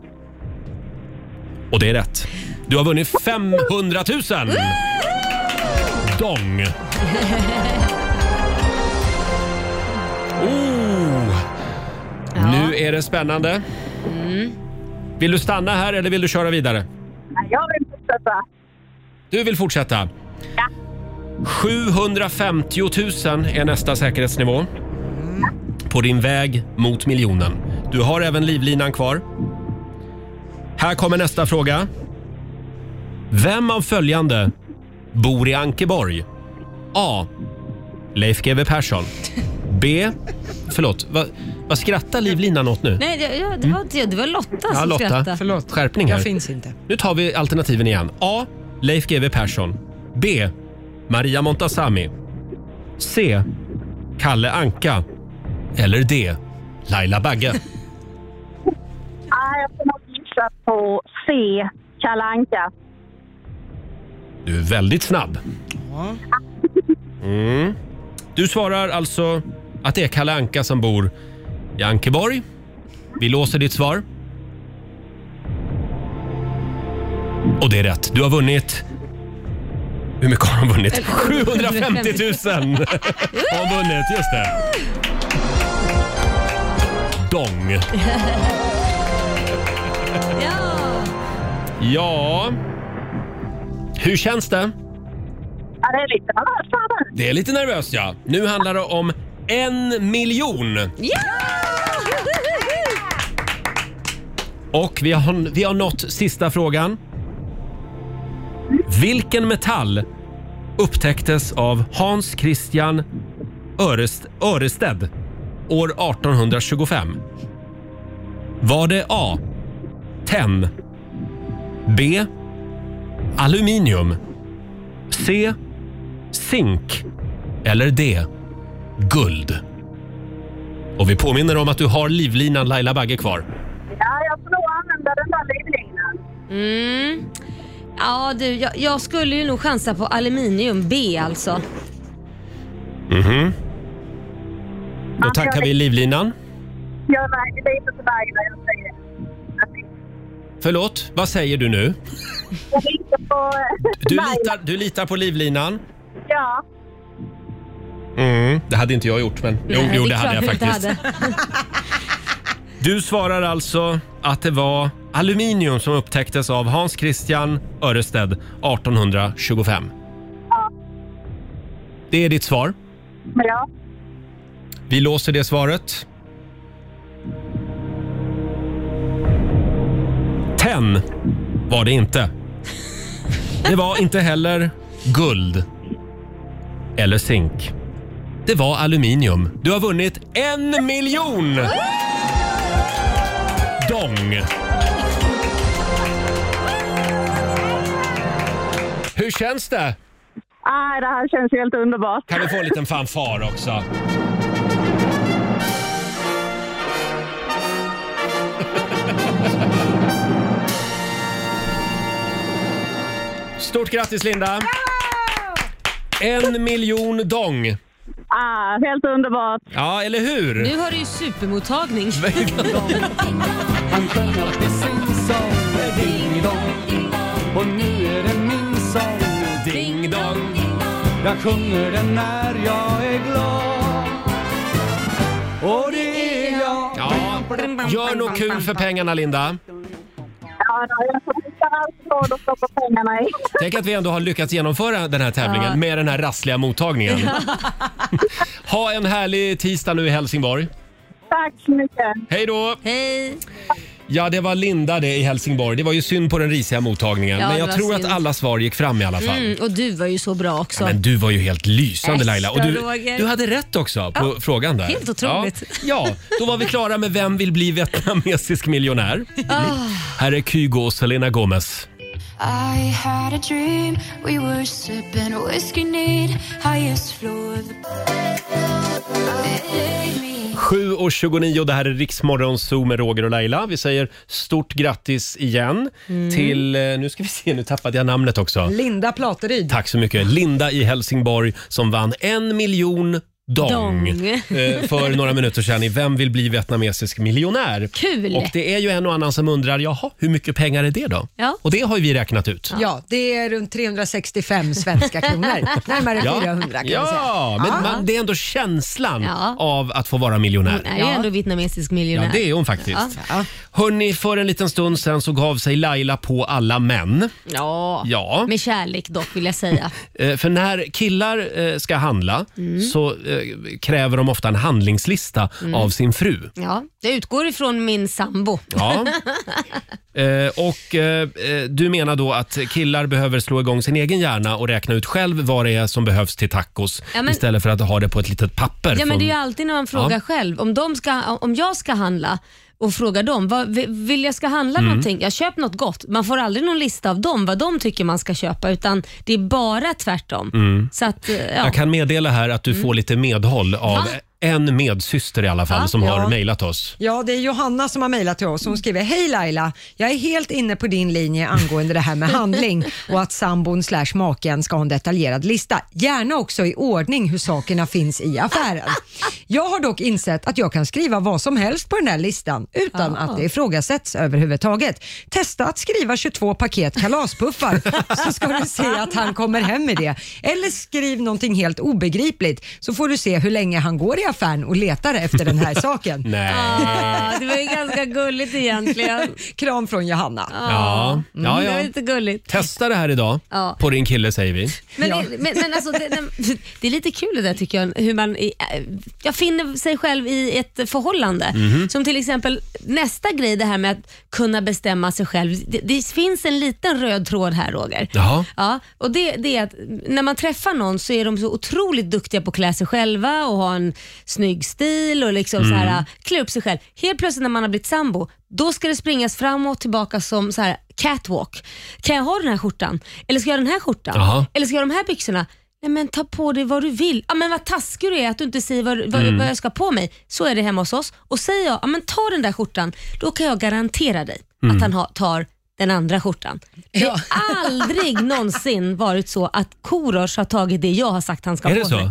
Och det är rätt. Du har vunnit 500 000! Dong! Oh, Ja. nu är det spännande. Vill du stanna här eller vill du köra vidare? Nej, jag vill fortsätta. Du vill fortsätta? 750 000 är nästa säkerhetsnivå. På din väg mot miljonen. Du har även livlinan kvar. Här kommer nästa fråga. Vem av följande bor i Ankeborg? A. Leif GW Persson. B. Förlåt, vad, vad skrattar livlinan åt nu? Nej, det, ja, det, var, inte jag, det var Lotta Mm. Ja, som Lotta. skrattade. Förlåt. Skärpning här. Jag finns inte. Nu tar vi alternativen igen. A. Leif GW Persson. B. Maria Montazami. C. Kalle Anka. Eller D. Laila Bagge. Nej, Äh, jag får nog gissa på C. Kalle Anka. Du är väldigt snabb. Mm. Du svarar alltså att det är Kalle Anka som bor i Ankeborg. Vi låser ditt svar. Och det är rätt. Du har vunnit... Hur mycket har hon vunnit? 750 000 har hon vunnit, just det. Dong. Ja. Ja... Hur känns det? Ja, det är lite nervöst här nu. Det är lite nervöst ja. Nu handlar det om en miljon. Ja! Och vi har, vi har nått sista frågan. Vilken metall upptäcktes av Hans Christian Örest, Örested år 1825? Var det A. Tenn B. Aluminium C. Zink eller D. Guld? Och vi påminner om att du har livlinan Laila Bagge kvar. Ja, jag får nog använda den där livlinan. Mm. Ja, du, jag, jag skulle ju nog chansa på aluminium B alltså. Mhm. Då tackar vi livlinan. Jag är lite sådär när jag säger det. Att Förlåt, vad säger du nu? Jag litar på... Du Laila. litar, du litar på livlinan? Ja. Det hade inte jag gjort, men jo, Nej, jo det är hade klart jag du inte faktiskt. hade. Du svarar alltså att det var aluminium som upptäcktes av Hans Christian Ørsted 1825. Det är ditt svar. Men ja. Vi låser det svaret. Tenn var det inte. Det var inte heller guld eller zink. Det var aluminium. Du har vunnit en miljon! Dong! Hur känns det? Ah, det här känns helt underbart. Kan vi få en liten fanfar också? Stort grattis Linda! En miljon dong. Ah, helt underbart. Ja, eller hur? Nu har du ju supermottagning. Han sjöng alltid sin sång med Ding dong Och nu är det min sång Ding dong. Jag sjunger den när jag är glad Och det är jag Ja, gör något kul för pengarna Linda. Ja, då, jag får hitta allt råd att stoppa pengarna i. Tänk att vi ändå har lyckats genomföra den här tävlingen med den här rassliga mottagningen. ha en härlig tisdag nu i Helsingborg. Tack så mycket. Hej då! Hej! Ja, det var Linda det i Helsingborg. Det var ju synd på den risiga mottagningen. Ja, men det jag var tror synd. att alla svar gick fram i alla fall. Mm, och du var ju så bra också. Men du var ju helt lysande Äsch Laila. då, Och du, Roger. du hade rätt också på frågan där. helt otroligt. Ja. ja, då var vi klara med Vem vill bli vietnamesisk miljonär? Ah. Här är Kygo och Selena Gomez. I had a dream we were sipping whiskey neat highest floor of the 7.29, det här är Riksmorgon Zoo med Roger och Laila. Vi säger stort grattis igen Mm. till, eh, nu ska vi se, nu tappade jag namnet också. Linda Plateryd. Tack så mycket. Linda i Helsingborg som vann en miljon dong, Dong. eh, för några minuter sedan i Vem vill bli vietnamesisk miljonär? Kul! Och det är ju en och annan som undrar, jaha, hur mycket pengar är det då? Ja. Och det har ju vi räknat ut. Ja, det är runt 365 svenska kronor. Närmare 400 kan ja, man säga. men Man, det är ändå känslan Ja. av att få vara miljonär. Hon är ju ändå vietnamesisk Ja, miljonär. det är hon faktiskt. Hörni, för en liten stund sen så gav sig Laila på alla män. Ja. Ja. Med kärlek dock vill jag säga. Eh, För när killar eh, ska handla Mm. så eh, kräver de ofta en handlingslista av sin fru. Ja, jag utgår ifrån min sambo. Ja. Eh, och eh, eh, du menar då att killar behöver slå igång sin egen hjärna och räkna ut själv vad det är som behövs till tacos Ja, men- istället för att ha det på ett litet papper. Ja, men från- det är ju alltid när man frågar Ja. själv. Om, de ska, om jag ska handla och frågar dem, vad, vi- vill jag ska handla Mm. någonting? Jag köper något gott. Man får aldrig någon lista av dem vad de tycker man ska köpa utan det är bara tvärtom. Mm. Så att, eh, ja. Jag kan meddela här att du får lite medhåll av Mm. Va? en medsyster i alla fall Va? som har Ja. mejlat oss. Ja, det är Johanna som har mejlat till oss. Hon skriver, hej Laila, jag är helt inne på din linje angående det här med handling och att sambon slash maken ska ha en detaljerad lista. Gärna också i ordning hur sakerna finns i affären. Jag har dock insett att jag kan skriva vad som helst på den här listan utan att det ifrågasätts överhuvudtaget. Testa att skriva 22 paket kalaspuffar så ska du se att han kommer hem med det. Eller skriv någonting helt obegripligt så får du se hur länge han går i affären och letar efter den här saken. Nej. Ah, det var ju ganska gulligt egentligen. Kram från Johanna. Ja. Ja, Det var ja. lite gulligt. Testa det här idag Ja. på din kille säger vi. Men, det, men, men alltså, det, det, det är lite kul det där tycker jag. Hur man, i- äh, jag finner sig själv i ett förhållande. Som till exempel nästa grej, det här med att kunna bestämma sig själv. Det, det finns en liten röd tråd här Roger. Jaha. Ja, och det, det är att när man träffar någon så är de så otroligt duktiga på att klä sig själva och ha en snygg stil och liksom så här, klä upp sig själv. Helt plötsligt när man har blivit sambo, då ska det springas fram och tillbaka som så här catwalk. Kan jag ha den här skjortan? Eller ska jag ha den här skjortan? Jaha. Eller ska jag ha de här byxorna? Nej men ta på dig vad du vill. Ja, men vad taskig du är att du inte säger vad, vad, vad jag ska ha på mig. Så är det hemma hos oss. Och säger jag, ja, men ta den där skjortan, då kan jag garantera dig att han ha, tar den andra skjortan. Det har aldrig någonsin varit så att Korosh har tagit det jag har sagt han ska Är ha det på så? sig.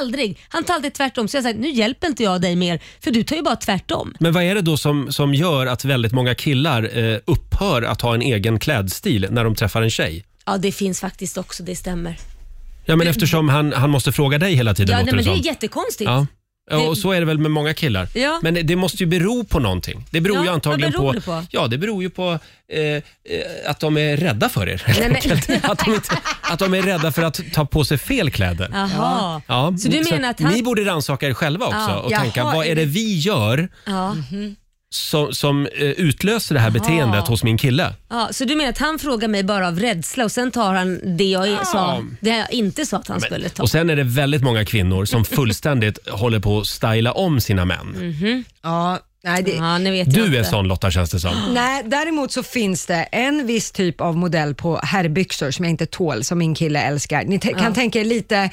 Aldrig. Han tar alltid tvärtom. Så jag säger, nu hjälper inte jag dig mer för du tar ju bara tvärtom. Men vad är det då som, som gör att väldigt många killar eh, upphör att ha en egen klädstil när de träffar en tjej? Ja det finns faktiskt också, det stämmer. Ja, men eftersom han, han måste fråga dig hela tiden Ja, nej, låter men det som. är jättekonstigt. Ja. Ja, Det- och så är det väl med många killar. Ja. Men det måste ju bero på någonting. Det beror Ja, ju antagligen vad beror på, det på? Ja, det beror ju på eh, eh, att de är rädda för er. helt enkelt. att, de inte, att de är rädda för att ta på sig fel kläder. Jaha. Ja, Så du menar att han... Ni borde rannsaka er själva också Ja. och Jaha, tänka, vad är är det vi gör Ja. som, som eh, utlöser det här beteendet hos min kille. Ja, så du menar att han frågar mig bara av rädsla och sen tar han det jag sa, det jag inte sa att han skulle ta. Och sen är det väldigt många kvinnor som fullständigt håller på att styla om sina män. Mm. Ja, nej, det, Ja, nu vet jag Du inte. är sån Lotta känns det som. Nej, däremot så finns det en viss typ av modell på herrbyxor som jag inte tål, som min kille älskar. Ni te- kan tänka er lite,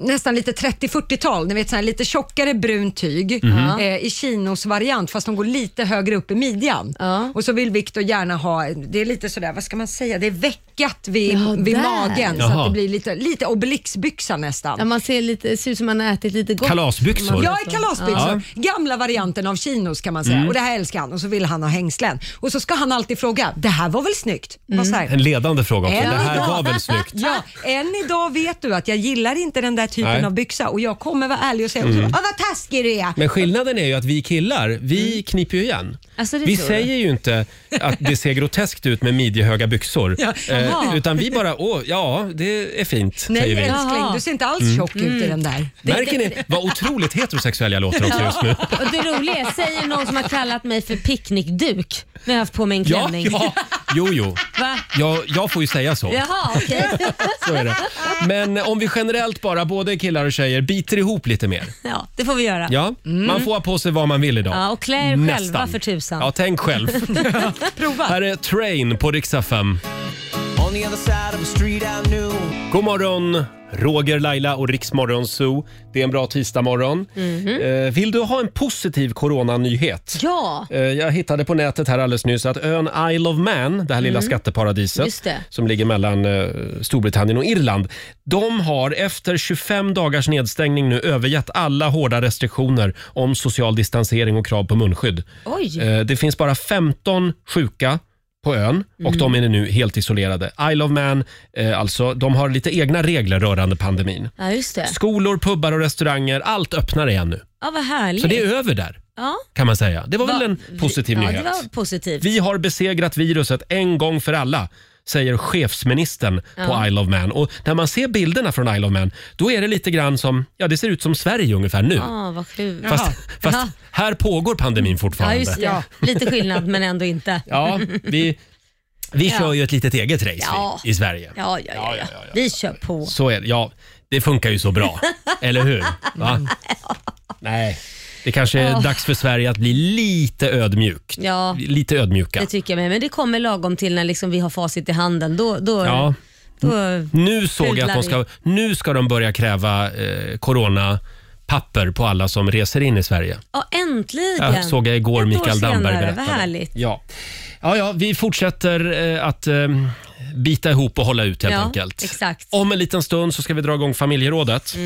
nästan lite 30-40-tal, ni vet så här, lite tjockare brunt tyg eh, i chinos variant fast de går lite högre upp i midjan. Ja. Och så vill Viktor gärna ha, det är lite sådär, vad ska man säga, det är veckat vid, Ja, vid där. magen så Jaha. att det blir lite, lite obelixbyxa nästan. Ja, man ser lite, det ser ut som man har ätit lite gott. Kalasbyxor. Ja, i kalasbyxor. Gamla varianten av chinos kan man säga. Mm. Och det här älskar han och så vill han ha hängslen. Och så ska han alltid fråga, det här var väl snyggt? Bara så här, En ledande fråga också. Än Mm. Det här idag- var väl snyggt? Ja, än idag vet du att jag gillar inte den där typen Nej. av byxa och jag kommer vara ärlig och säga mm. vad taskig du är. Men skillnaden är ju att vi killar, vi kniper ju igen. Mm. Alltså, det vi tror säger ju inte att det ser groteskt ut med midjehöga byxor. Ja. Eh, Jaha. utan vi bara, åh, ja, det är fint, Nej säger vi. Mm. älskling, Jaha. du ser inte alls tjock ut i den där. Märker ni vad otroligt heterosexuell jag låter också just nu? Och det roliga är, säger någon som har kallat mig för picknickduk när jag har haft på mig en Ja, klänning. ja, jo, jo. Va? Jag, jag får ju säga så. Jaha, okej. så är det. Men om vi generellt bara, både killar och tjejer, biter ihop lite mer. Ja, det får vi göra. Ja? Man får ha på sig vad man vill idag. Mm. Ja, och klä er själva Nästan. för tusan. Ja, tänk själv. Prova. Här är Train på Rix FM. God morgon, Roger, Laila och Riksmorgon Zoo. Det är en bra tisdagmorgon. Mhm. Eh, Vill du ha en positiv coronanyhet? Ja, Eh, Jag hittade på nätet här alldeles nyss att ön Isle of Man, det här lilla Mm. Just skatteparadiset det. som ligger mellan eh, Storbritannien och Irland, de har efter 25 dagars nedstängning nu övergett alla hårda restriktioner om social distansering och krav på munskydd. oj. Eh, Det finns bara 15 sjuka på ön Mm. och de är nu helt isolerade. Isle of Man, eh, alltså, de har lite egna regler rörande pandemin. Ja, just det. Skolor, pubbar och restauranger, allt öppnar igen nu. Ja, vad härligt. Så det är över där, ja. kan man säga. Det var väl en positiv ja, nyhet? det var positivt. Vi har besegrat viruset en gång för alla säger chefsministern på Isle of Man. Och när man ser bilderna från Isle of Man, då är det lite grann som, ja det ser ut som Sverige ungefär nu. Ja, vad kul. Fast, Jaha. fast här pågår pandemin Ja, fortfarande. just det. Lite skillnad men ändå inte. Ja, vi, vi Ja. kör ju ett litet eget race vi, Ja. i Sverige. Ja, ja, ja, ja. Vi kör på. Så är det. Ja, det funkar ju så bra. Eller hur? Va? Nej. Det kanske är dags för Sverige att bli lite ödmjukt. Ja. Lite ödmjuka. Det tycker jag med. Men det kommer lagom till när liksom vi har facit i handen. Då, då, Ja. då Nu såg jag att Pudlar de ska, nu ska de börja kräva eh, coronapapper på alla som reser in i Sverige. ja, äntligen. Jag såg jag igår Ett år Mikael Damberg senare. berättade. Vad härligt. Ja. Ja, ja, vi fortsätter eh, att eh, bita ihop och hålla ut helt Ja, enkelt. exakt. Mm. Om en liten stund så ska vi dra igång familjerådet.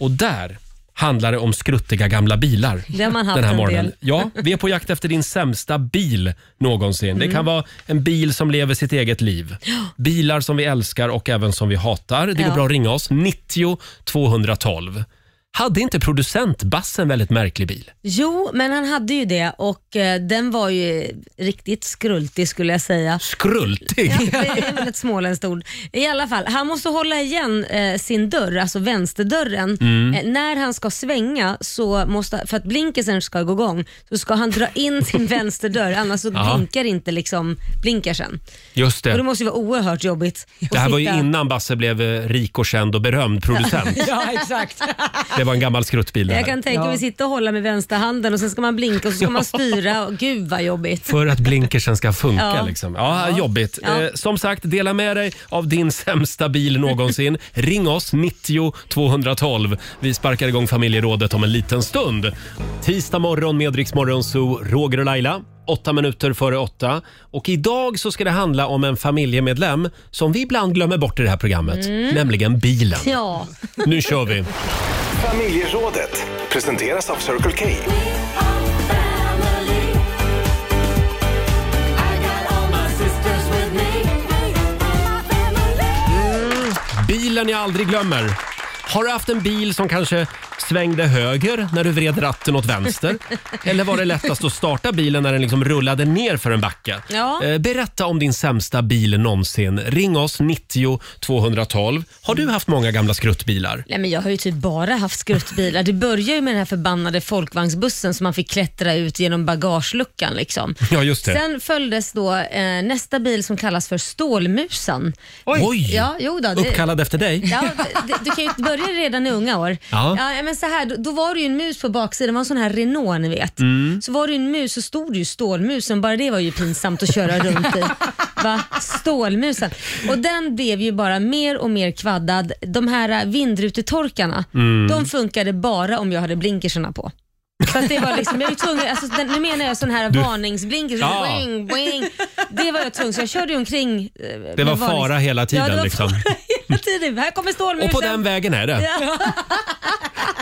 Och där handlar det om skruttiga gamla bilar. Det har man haft den här en morgonen. del. Ja, vi är på jakt efter din sämsta bil någonsin. Det Mm. kan vara en bil som lever sitt eget liv. Bilar som vi älskar och även som vi hatar. Det går Ja. bra att ringa oss. 90 212. Hade inte producent Bass en väldigt märklig bil? Jo, men han hade ju det och eh, den var ju riktigt skrultig skulle jag säga. Skrultig! Ja, det är väl ett småländskt ord. I alla fall, han måste hålla igen eh, sin dörr, alltså vänsterdörren. Mm. Eh, när han ska svänga, så måste, för att blinkersen ska gå igång, så ska han dra in sin vänsterdörr, annars så Ja. blinkar inte liksom blinkersen. Just Och det. det måste ju vara oerhört jobbigt. Det här var ju innan Basse blev eh, rik och känd och berömd producent. Ja, exakt. Det var en gammal skruttbil det Jag här. kan tänka mig Ja. att sitta och hålla med vänsterhanden och sen ska man blinka och så ska man styra. Och, gud vad jobbigt. För att blinkersen ska funka. Ja. Ja. Liksom. Ja, Jobbigt. Ja. Eh, som sagt, dela med dig av din sämsta bil någonsin. Ring oss, 90 212. Vi sparkar igång familjerådet om en liten stund. Tisdag morgon med Rix Morgon Zoo, Roger och Laila. Åtta minuter före åtta. Och idag så ska det handla om en familjemedlem som vi ibland glömmer bort i det här programmet. Mm. Nämligen bilen. Ja, Nu kör vi! Familjerådet presenteras av Circle K. Bilen jag aldrig glömmer. Har du haft en bil som kanske svängde höger när du vred ratten åt vänster? Eller var det lättast att starta bilen när den liksom rullade ner för en backe? Ja. Eh, Berätta om din sämsta bil någonsin. Ring oss 90 212. Har du haft många gamla skruttbilar? Nej, men jag har ju typ bara haft skruttbilar. Det börjar ju med den här förbannade folkvagnsbussen som man fick klättra ut genom bagageluckan. Liksom. Ja, just det. Sen följdes då eh, nästa bil som kallas för Stålmusan. Oj! Ja, jo då, det- Uppkallad efter dig? Ja, det, du kan ju börja redan i unga år. Ja. men så här, då, då var det ju en mus på baksidan, det var en sån här Renault ni vet. Mm. Så var det ju en mus så stod det ju stålmusen, bara det var ju pinsamt att köra runt i. Va? Stålmusen. Och den blev ju bara mer och mer kvaddad. De här eh, vindrutetorkarna, Mm. de funkade bara om jag hade blinkerserna på. Så att det var liksom, jag var ju tvungen, alltså, den, nu menar jag sån här Du- varningsblinkers, Ja. boing, boing. Det var jag tvungen, så jag körde ju omkring. eh, Det med var varnings- fara hela tiden. Ja, det var liksom. hela tiden. Här kommer stålmusen. Och på den vägen är det. Ja.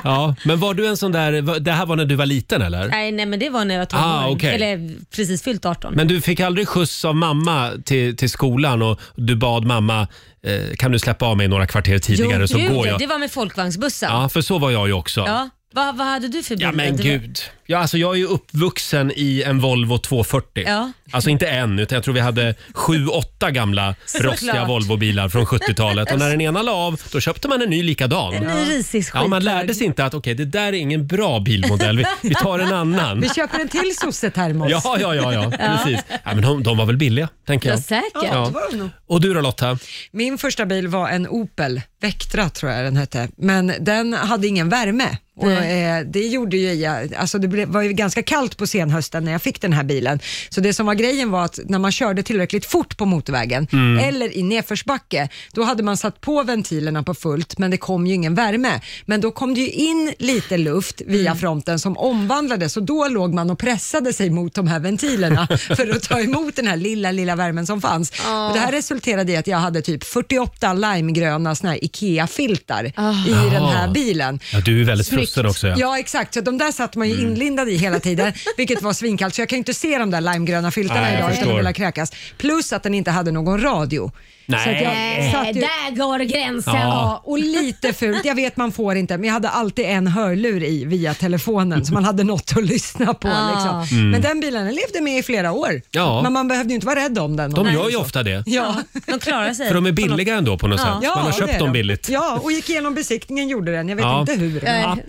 Ja, men var du en sån där, var- det här var när du var liten eller? Nej, nej, men det var när jag var tonåring. Ah, okej. Eller precis fyllt 18. Men du fick aldrig skjuts av mamma till, till skolan och du bad mamma, eh, kan du släppa av mig några kvarter tidigare så gud, går ja, jag. Det var med folkvagnsbussen. Ja, för så var jag ju också. Ja. Vad, vad hade du för bild? Ja men Det var- gud. Ja, alltså jag är ju uppvuxen i en Volvo 240. Ja. Alltså inte en, utan jag tror vi hade sju, åtta gamla Såklart. rostiga Volvobilar från 70-talet. Och när den ena la av, då köpte man en ny likadan. En ny risig Ja, man lärde sig inte att okej, det där är ingen bra bilmodell. Vi, vi tar en annan. Vi köper en till sossetermos. Ja, ja, ja, ja, precis. Ja, men de, de var väl billiga, tänker jag. Ja, säkert. Ja, det var de nog. Och du då Lotta? Min första bil var en Opel Vectra tror jag den hette, men den hade ingen värme. Och, eh, det gjorde ju jag, alltså det blev, var ju ganska kallt på senhösten när jag fick den här bilen. Så det som var grejen var att när man körde tillräckligt fort på motorvägen Mm. eller i nedförsbacke, då hade man satt på ventilerna på fullt men det kom ju ingen värme. Men då kom det ju in lite luft Mm. via fronten som omvandlades och då låg man och pressade sig mot de här ventilerna för att ta emot den här lilla, lilla värmen som fanns. Ja. Och det här resulterade i att jag hade typ 48 limegröna såna här IKEA-filtar i Ah. Jaha. den här bilen. Ja, du är väldigt frustrad också. Ja. Ja. Mm. exakt. Så de där satt man ju inlindad i hela tiden, vilket var svinkallt. Så jag kan ju inte se de där limegröna filtarna Nej, jag idag utan förstår. att vilja kräkas. Plus att den inte hade någon radio. Nej. Så att jag satt ju... Eh, där går gränsen. Ja. Ja. och lite fult. Jag vet man får inte, men jag hade alltid en hörlur i via telefonen så man hade något att lyssna på. Ah. Liksom. Mm. Men den bilen den levde med i flera år. Ja. Men man behövde ju inte vara rädd om den. De gör ju ofta det. Ja. De klarar sig. För de är billiga ändå på något Ja. sätt. Man har Ja, köpt det är dem de. billigt. Ja, och gick igenom besiktningen gjorde den. Jag vet Ja. inte hur. Eh,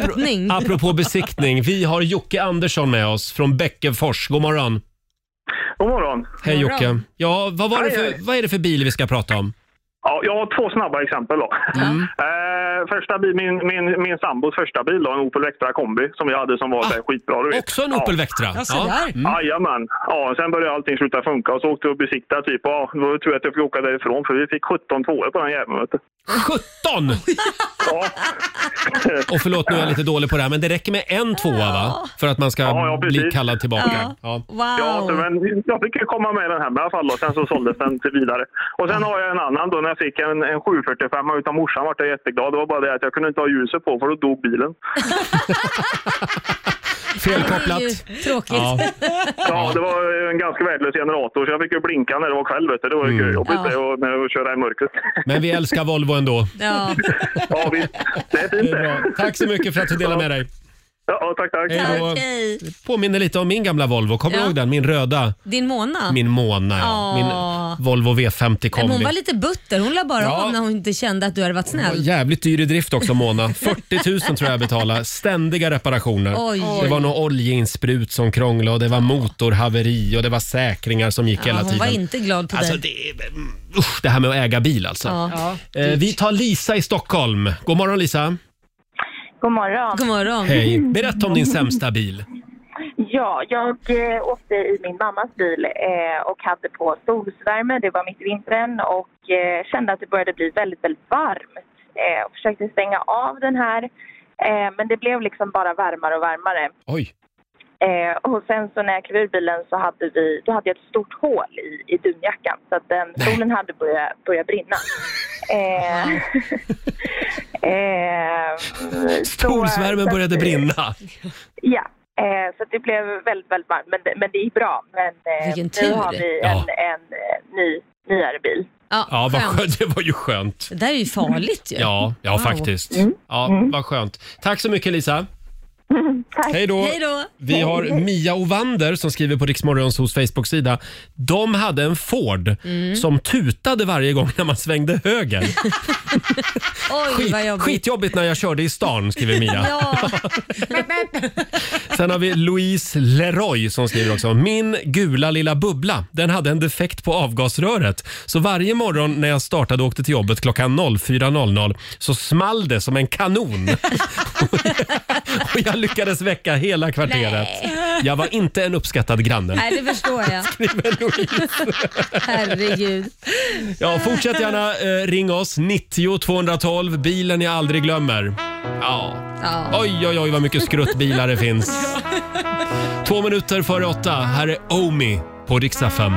Lutning. Apropå besiktning, vi har Jocke Andersson med oss från Bäckefors. God morgon. God morgon. Hej God Jocke. morgon. Ja, vad, var det Hej, för, hej. vad är det för bil vi ska prata om? Ja, jag har två snabba exempel. Då. Eh, första bil, min, min, min sambos första bil, då, en Opel Vectra kombi, som jag hade som var så här, skitbra. Du vet. Också en Opel Vectra? Ja, så där. Mm. Jajamän. Ja, sen började allting sluta funka och så åkte vi och besiktade. Typ, ja, det var tur att jag fick åka därifrån för vi fick 17 tvåor på den jäveln. vet du. 17! Och förlåt, nu är jag lite dålig på det här, men det räcker med en tvåa va? För att man ska bli kallad tillbaka. Ja. Ja, så, men jag fick ju komma med den här med i alla fall. Då. Sen så såldes den till vidare. Och sen har jag en annan då när jag fick en, en 745 utav morsan vart jag jätteglad. Det var bara det att jag kunde inte ha ljuset på för då dog bilen. Felkopplat. Det är ju tråkigt. Ja. Ja, det var en ganska värdelös generator så jag fick ju blinka när det var kväll. Vet du. Det var ju jobbigt det, och, när jag köra i mörkret. Mm. Men vi älskar Volvo ändå. Ja. ja, visst. Det är fint det. Tack så mycket för att du delade med dig. Ja, tack, tack. Hej då. Tack, hej. Påminner lite om min gamla Volvo. Kommer du Ja. ihåg den? Min röda. Din Mona. Min Mona, ja. Åh. Min Volvo V50 Men kombi. hon var lite butter. Hon la bara Ja. av när hon inte kände att du hade varit Det var snäll. Jävligt dyr i drift också Mona. 40 000 tror jag jag betalade. Ständiga reparationer. Oj. Det var någon oljeinsprut som krånglade och det var motorhaveri och det var säkringar som gick Ja, hela hon tiden. var inte glad på Alltså, dig. Usch, det här med att äga bil alltså. Ja. Eh, vi tar Lisa i Stockholm. God morgon Lisa. God morgon. God morgon. Hej. Berätta om din sämsta bil. Ja, jag eh, åkte i min mammas bil eh, och hade på solsvärme. Det var mitt i vintern och eh, kände att det började bli väldigt, väldigt varmt. Eh, och försökte stänga av den här, eh, men det blev liksom bara varmare och varmare. Oj. Eh, och sen så när jag klev ur bilen så hade, vi, då hade jag ett stort hål i, i dunjackan så att den, solen hade börjat, börjat brinna. Eh, eh, Solsvärmen så- började brinna. Ja, eh, så det blev väldigt, väldigt varmt. Men, det- men det gick bra. Men eh, Vilken nu tur. har vi en, Ja. en, eh, ny, nyare bil. Ja, Ja, vad skönt. skönt. Det var ju skönt. Det där är ju farligt ju. Ja, ja Wow. Mm. faktiskt. Ja, vad skönt. Tack så mycket Lisa. Hej då. Mm, Hej då. Vi har Mia Ovander som skriver på Riksmorgons hos Facebook-sida. De hade en Ford Mm. som tutade varje gång när man svängde höger. Oj, vad Skit, jobbigt. skitjobbigt när jag körde i stan, skriver Mia. Ja. Sen har vi Louise Leroy som skriver också. Min gula lilla bubbla, den hade en defekt på avgasröret. Så varje morgon när jag startade och åkte till jobbet klockan 04.00 så small det som en kanon. och jag lyckades väcka hela kvarteret. Nej. Jag var inte en uppskattad granne. Nej, det förstår jag. Herregud. Ja, fortsätt gärna eh, ring oss, 90 212, bilen jag aldrig glömmer. Ja. Ja. Oj, oj, oj vad mycket skruttbilar det finns. Två minuter före åtta. Här är Omi på Rix FM.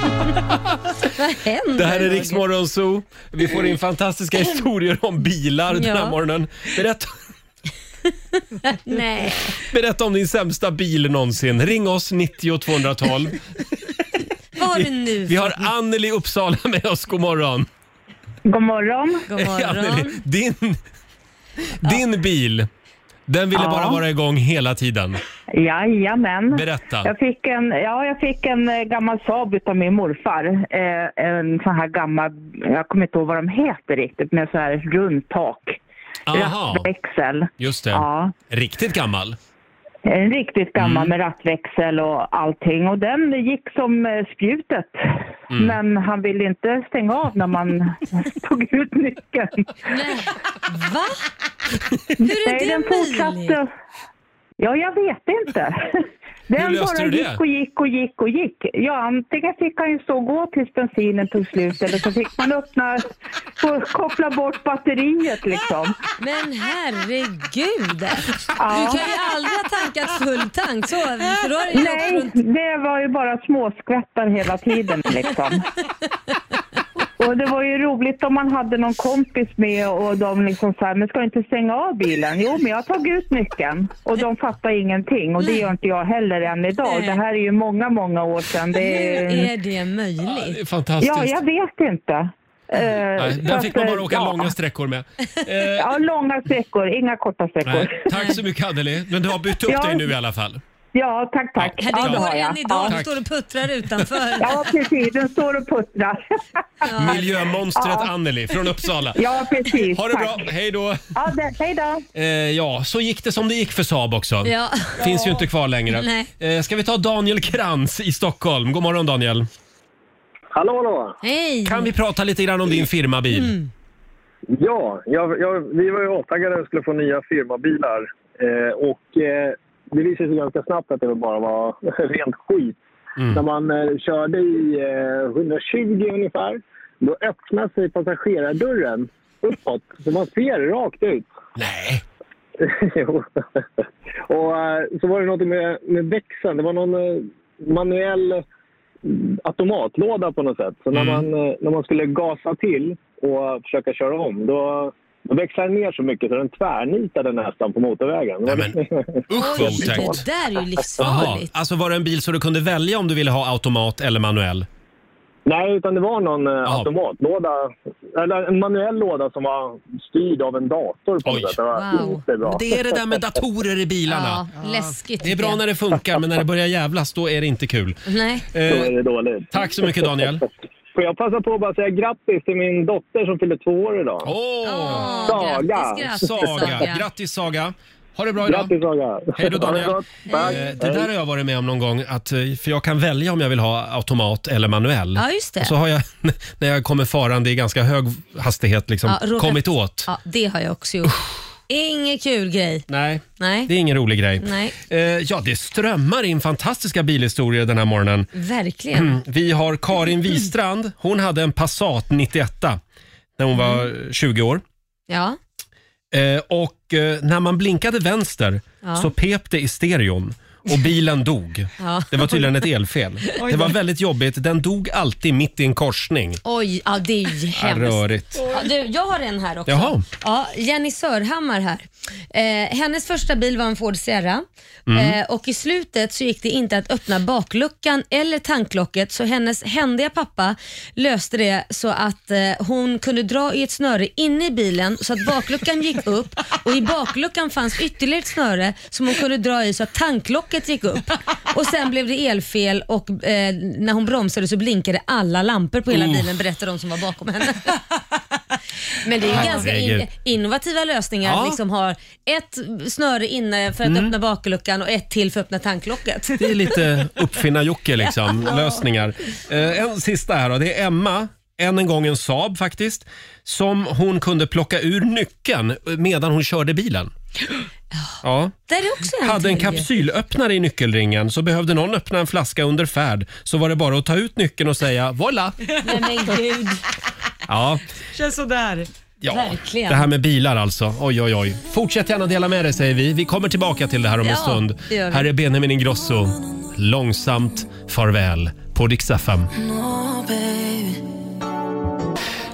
Vad händer? Det här är Roger? Rix Morgon Zoo. Vi får in fantastiska historier om bilar den här Ja. morgonen. Berätta, Nej. berätta om din sämsta bil någonsin. Ring oss, 90 212. Vad har du nu? Vi har Anneli Uppsala med oss. God morgon. God morgon. God morgon. Anneli, din, din bil, den ville Ja. bara vara igång hela tiden. Jajamän. Berätta. Jag fick en, ja, jag fick en eh, gammal Saab utav min morfar. Eh, en sån här gammal, jag kommer inte ihåg vad de heter riktigt, men så här runt tak. Aha. Rattväxel. Just det. Ja. Mm. Riktigt gammal. En riktigt gammal med rattväxel och allting. Och den gick som eh, spjutet. Mm. Men han ville inte stänga av när man tog ut nyckeln. Va? Hur är Nej, det den fortsatte. Ja, jag vet inte. Den löste bara du det? gick och gick och gick och gick. Ja, antingen fick han ju så gå tills bensinen tog slut eller så fick man öppna och koppla bort batteriet liksom. Men herregud. Ja. Du kan ju aldrig ha tankat full tank så. För då har det ju åkt Nej, runt. det var ju bara småskvättar hela tiden liksom. Och det var ju roligt om man hade någon kompis med och de liksom sa men ska du inte stänga av bilen? Jo, men jag har tagit ut nyckeln. Och de fattar ingenting och det gör inte jag heller än idag. Nej. Det här är ju många, många år sedan. Det Hur är är... det möjligt? Fantastiskt. Ja, jag vet inte. Eh, Nej, så den att, eh, fick man bara åka ja. långa sträckor med. Eh, Ja, långa sträckor, inga korta sträckor. Nej, tack så mycket Anneli, men du har bytt upp Ja. dig nu i alla fall. Ja, tack, tack. Ja, Herregud, det har var jag. än idag. Ja. Den står och puttrar utanför. Ja, precis. Den står och puttrar. Miljömonstret Ja. Anneli från Uppsala. Ja, precis. Ha det Tack. bra, hej då. Ja, det, hej då. Eh, ja, så gick det som det gick för Saab också. Ja. Finns ju inte kvar längre. Nej. Eh, ska vi ta Daniel Krantz i Stockholm? God morgon Daniel. Hallå, hallå! Hej! Kan vi prata lite grann om din firmabil? Ja, jag, jag, vi var ju avtaggade och skulle få nya firmabilar. Eh, och eh, det visade sig ganska snabbt att det bara var rent skit. När man eh, körde i eh, 120 ungefär, då öppnade sig passagerardörren uppåt. Så man ser rakt ut. Nej! jo. och eh, så var det något med, med växeln. Det var någon eh, manuell mm, automatlåda på något sätt. Så Mm. när, man, eh, när man skulle gasa till och försöka köra om, då, då växlade den ner så mycket så den tvärnitade nästan på motorvägen. Usch vad otäckt. Det där är ju Jaha, livsfarligt. alltså var det en bil så du kunde välja om du ville ha automat eller manuell? Nej, utan det var någon eh, automatlåda, eller en manuell låda som var styrd av en dator på något sätt. Det var Wow. inte bra. Det är det där med datorer i bilarna. Läskigt. Det är bra när det funkar, men när det börjar jävlas då är det inte kul. Eh, Nej. Då är det dåligt. Tack så mycket Daniel. Får jag passa på att bara säga grattis till min dotter som fyller två år idag? Åh! Saga! Saga. Grattis Saga. Ha det bra idag. Grattis Saga. Hej då Daniel. Ha det Eh, gott. Tack. Det där har jag varit med om någon gång, att, eh, för jag kan välja om jag vill ha automat eller manuell. Ja, just det. Och så har jag, när jag kommer farande i ganska hög hastighet, liksom, Ja, råkat- kommit åt. Ja, det har jag också gjort. Ingen kul grej. Nej, Nej. det är ingen rolig grej. Nej. Eh, Ja, det strömmar in fantastiska bilhistorier den här morgonen. Mm, Verkligen. Vi har Karin Wistrand. Hon hade en Passat 91 när hon Mm. var 20 år. Ja. Eh, Och eh, när man blinkade vänster Ja. så pep det i stereon och bilen dog. Ja. Det var tydligen ett elfel. Oj Det var då. väldigt jobbigt. Den dog alltid mitt i en korsning. Oj, ja, det är ju Ja, hemskt. Rörigt. Ja, du, jag har en här också. Jaha. Ja, Jenny Sörhammar här. Eh, hennes första bil var en Ford Sierra Mm. eh, och i slutet så gick det inte att öppna bakluckan eller tanklocket så hennes händiga pappa löste det så att eh, hon kunde dra i ett snöre inne i bilen så att bakluckan gick upp och i bakluckan fanns ytterligare ett snöre som hon kunde dra i så att tanklocket gick upp. Och sen blev det elfel och eh, när hon bromsade så blinkade alla lampor på hela Oh. bilen berättar de som var bakom henne. Men det är ju ganska in, Herregud. innovativa lösningar. Ja. Mm. Att liksom ha ett snöre inne för att öppna bakluckan och ett till för att öppna tanklocket. Det är lite uppfinnar-Jocke liksom, lösningar. Eh, en sista här då. Det är Emma, än en gång en Saab faktiskt, som hon kunde plocka ur nyckeln medan hon körde bilen. Ja. Där är också en Hade en till. kapsylöppnare i nyckelringen så behövde någon öppna en flaska under färd så var det bara att ta ut nyckeln och säga voila. Nej men gud. Ja, Känns sådär. Ja, Verkligen. det här med bilar alltså. Oj, oj, oj. Fortsätt gärna dela med dig säger vi. Vi kommer tillbaka till det här om en Ja, stund. det gör vi. Här är Benjamin Ingrosso. Långsamt farväl på Dix FM.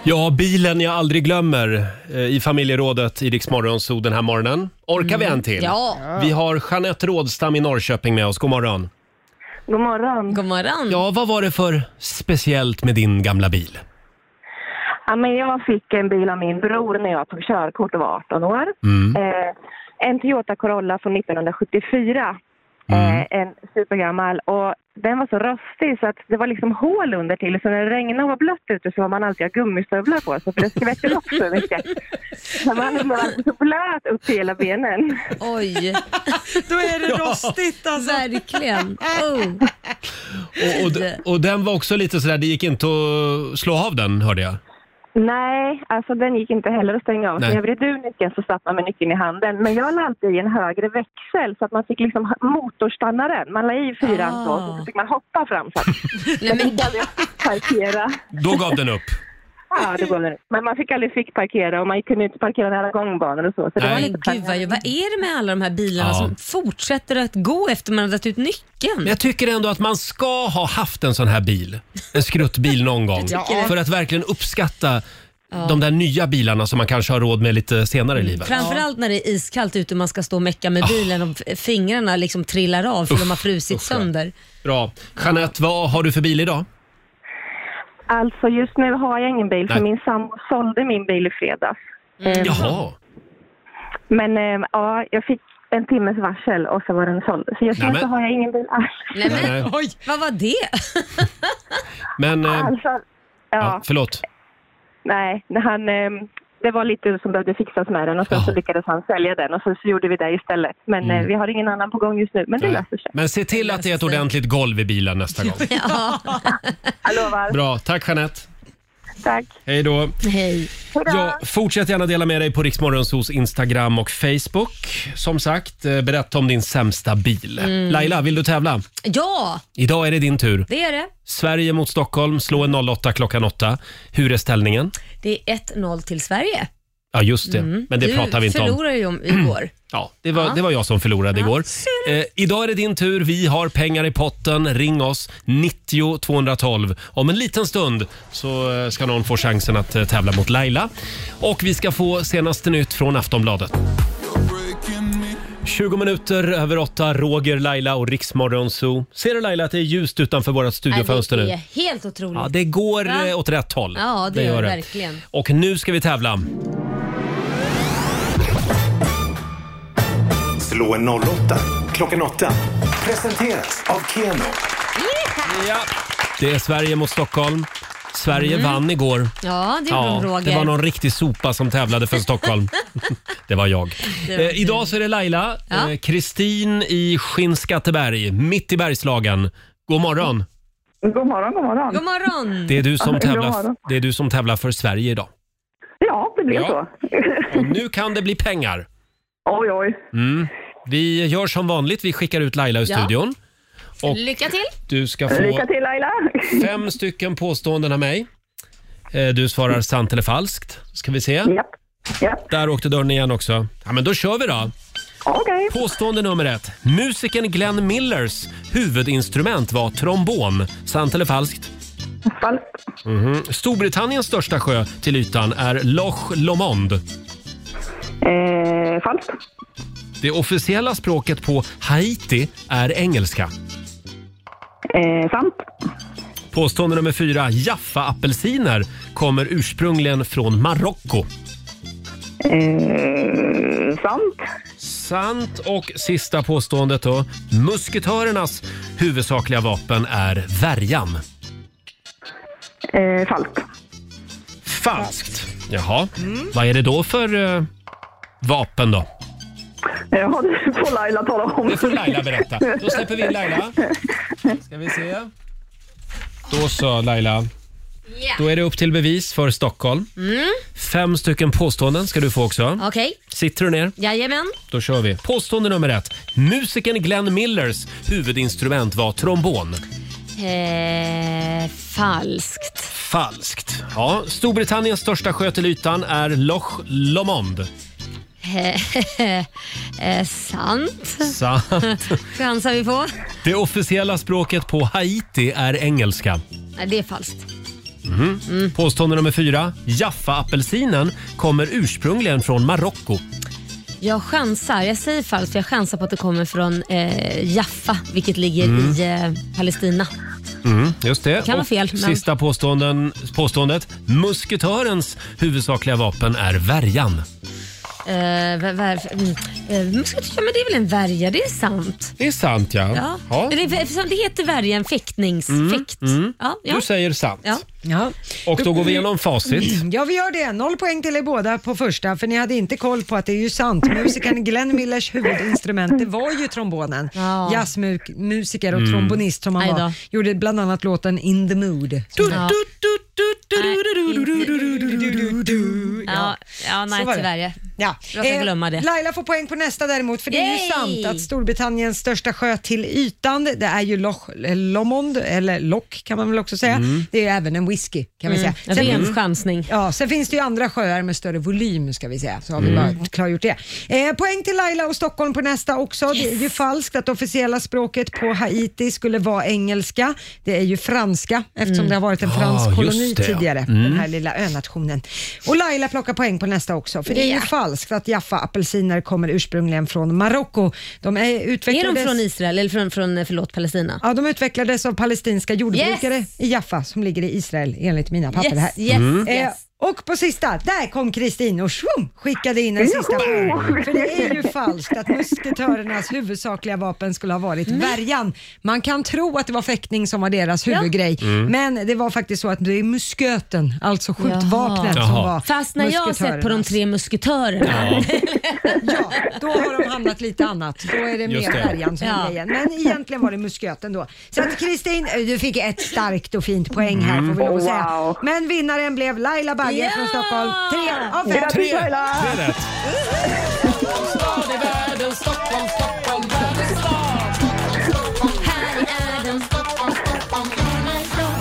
Ja, bilen jag aldrig glömmer eh, i familjerådet i Rix Morgonzoo den här morgonen. Orkar vi en till? Mm. Ja. Vi har Jeanette Rådstam i Norrköping med oss. God morgon. God morgon. God morgon. Ja, vad var det för speciellt med din gamla bil? Ja, men jag fick en bil av min bror när jag tog körkort och var 18 år. Mm. Eh, en Toyota Corolla från 1974. Eh, en supergammal. Och den var så rostig så att det var liksom hål under till. Så när det regnade och var blött ute så var man alltid ha gummistövlar på sig för det skvätter upp så mycket. Så man var så blöt upp till hela benen. Oj. Alltså. Då är det Ja. rostigt alltså. Verkligen. Oh. Och, och, d- och den var också lite sådär, det gick inte att slå av den hörde jag. Nej, alltså den gick inte heller att stänga av. Så Nej. när jag vred ur nyckeln så satt man med nyckeln i handen. Men jag la alltid i en högre växel så att man fick liksom ha- motorstanna den. Man la i fyran Ah. så och så fick man hoppa fram så att man fick aldrig fick parkera. Då gav den upp. Ja, det går nu. Men man fick aldrig fick parkera och man kunde inte parkera nära gångbanor och så. så det var Men lite gud vad, vad är det med alla de här bilarna Ja. som fortsätter att gå efter man har dragit ut nyckeln? Men jag tycker ändå att man ska ha haft en sån här bil, en skruttbil någon gång. Jag tycker det. För att verkligen uppskatta Ja. de där nya bilarna som man kanske har råd med lite senare i livet. Framförallt när det är iskallt ute och man ska stå och mecka med bilen och f- fingrarna liksom trillar av för Ah. Uff, de har frusit usch, ja. sönder. Bra. Jeanette, vad har du för bil idag? Alltså just nu har jag ingen bil för Nej. min sambo sålde min bil i fredags. Mm. Eh, Jaha. Men eh, ja, jag fick en timmes varsel och så var den såld. Så just nu Nämen. så har jag ingen bil alls. Nej, men, Nej. Oj, vad var det? Men, eh, Alltså, ja. ja, förlåt. Nej, när han, ehm, det var lite som behövde fixas med den och sen så lyckades han sälja den och sen så gjorde vi det istället. Men Mm. eh, vi har ingen annan på gång just nu, men det Nej. löser sig. Men se till att det är ett ordentligt golv i bilen nästa gång. Ja. jag lovar. Bra. Tack Jeanette. Tack. Hej då. Hej. Ja, fortsätt gärna dela med dig på Riksmorgonsos Instagram och Facebook. Som sagt, eh, berätta om din sämsta bil. Mm. Laila, vill du tävla? Ja, Idag är det din tur. det är det. Sverige mot Stockholm, slå en 08 klockan 8. Hur är ställningen? Det är 1-0 till Sverige. Ja, just det. Mm. Men det du pratar vi inte om. förlorade ju om igår. Ja, det var, Ja. det var jag som förlorade igår. Eh, idag är det din tur. Vi har pengar i potten. Ring oss, 90 212. Om en liten stund så eh, ska någon få chansen att eh, tävla mot Laila. Och vi ska få senaste nytt från Aftonbladet. 20 minuter över åtta, Roger, Laila och Riksmorgon Zoo. Ser du Laila att det är ljust utanför vårt studiofönster Nej, nu? Det är helt otroligt. Ja, det går Va? eh, åt rätt håll. Ja, det, gör det verkligen. Och nu ska vi tävla. Slå en 08 klockan 8. Presenteras av Keno. Ja. Det är Sverige mot Stockholm. Sverige Mm. vann igår. Ja, det gjorde de, Roger. det var någon riktig sopa som tävlade för Stockholm. det var jag. Det var eh, du. idag så är det Laila, Ja. eh, Kristin i Skinnskatteberg, mitt i Bergslagen. God morgon! God morgon, god morgon. God morgon. Det är du som God tävlar, morgon. det är du som tävlar för Sverige idag. Ja, det blev Ja. så. Och nu kan det bli pengar. Oj, oj. Mm. Vi gör som vanligt, vi skickar ut Laila ur Ja. studion. Och Lycka till. du ska få... Lycka till Laila. Fem stycken påståenden av mig. Eh, Du svarar sant eller falskt. Ska vi se. Där åkte dörren igen också. Ja, men då kör vi då. Okay. Påstående nummer ett. Musikern Glenn Millers huvudinstrument var trombon. Sant eller falskt? Falskt. Storbritanniens största sjö till ytan är Loch Lomond. Eh, eh, falskt. Det officiella språket på Haiti är engelska. Eh, sant. Påstående nummer fyra. Jaffa-apelsiner kommer ursprungligen från Marocko. Eh, sant. Sant. Och sista påståendet då. Musketörernas huvudsakliga vapen är värjan. Eh, falskt. Falskt. Jaha. Vad är det då för eh, vapen då? Ja, det får Laila tala om. Det får Laila berätta. Då släpper vi in Laila. Ska vi se. Då så Laila. Då är det upp till bevis för Stockholm. Mm. Fem stycken påståenden ska du få också. Okej, Sitter du ner? jajamän. Då kör vi. Påstående nummer ett. Musikern Glenn Millers huvudinstrument var trombon. Eh, falskt. Falskt. Ja, Storbritanniens största sjö till ytan är Loch Lomond. Eh, eh, sant. Sant. Chansar vi på? Det officiella språket på Haiti är engelska. Nej, det är falskt. Mhm. Mm. Påstående nummer fyra. Jaffa-apelsinen kommer ursprungligen från Marocko. Jag chansar. Jag säger falskt för jag chansar på att det kommer från eh, Jaffa, vilket ligger Mm. i eh, Palestina. Mm, just det. Kan vara Och fel, men- Sista påståenden, påståendet. Musketörens huvudsakliga vapen är värjan. Eh, var, var, mm, eh, muskeltörn, men det är väl en värja? Det är sant. Det är sant, ja. Ja. Det, är- eftersom det heter värja, en fäktnings... Mm, Fäkt. mm. Ja, ja. Du säger sant. Ja. Ja. Och då går vi igenom facit. Mm. Ja, vi gör det. Noll poäng till er båda på första, för ni hade inte koll på att det är ju sant. Musikern Glenn Millers huvudinstrument, det var ju trombonen. Ja. Jazzmusiker och Mm. trombonist som han Aj då. var. Gjorde bland annat låten In the mood. Ja. Ja, ja, nej Så var det. tyvärr. Ja. Eh, Jag ska glömma det. Laila får poäng på nästa däremot, för det är ju Yay! sant att Storbritanniens största sjö till ytan, det är ju Loch eh, Lomond, eller Lock kan man väl också säga. Mm. Det är ju även en whisky kan vi Mm, säga. en ren chansning. Ja, sen finns det ju andra sjöar med större volym ska vi säga, så har vi Mm. bara klargjort det. Eh, poäng till Laila och Stockholm på nästa också. Det är ju falskt att det officiella språket på Haiti skulle vara engelska. Det är ju franska eftersom Mm. det har varit en Ah, fransk just koloni det, ja. tidigare, Mm. den här lilla önationen. Och Laila plockar poäng på nästa också, för det är ju falskt att Jaffa-apelsiner kommer ursprungligen från Marocko. De är Är utvecklades... de från Israel eller från, från eh, förlåt, Palestina? Ja, de utvecklades av palestinska jordbrukare i Jaffa som ligger i Israel enligt mina papper Yes, här. yes, Mm. Eh, yes. Eh, och på sista, där kom Kristin och shwoom, skickade in en sista. Joho! För det är ju falskt att musketörernas huvudsakliga vapen skulle ha varit värjan. Man kan tro att det var fäktning som var deras huvudgrej, Mm. men det var faktiskt så att det är musköten, alltså skjutvapnet, som Jaha. var Fast när jag har sett på de tre musketörerna. då har de hamnat lite annat. Då är det Just mer det. färjan som Ja. är grejen. Men egentligen var det musköten då. Så att Kristin, du fick ett starkt och fint poäng här får vi lov Mm. att säga. Men vinnaren blev Laila Bagge från Stockholm. Tre av fem. Tre. Det är rätt.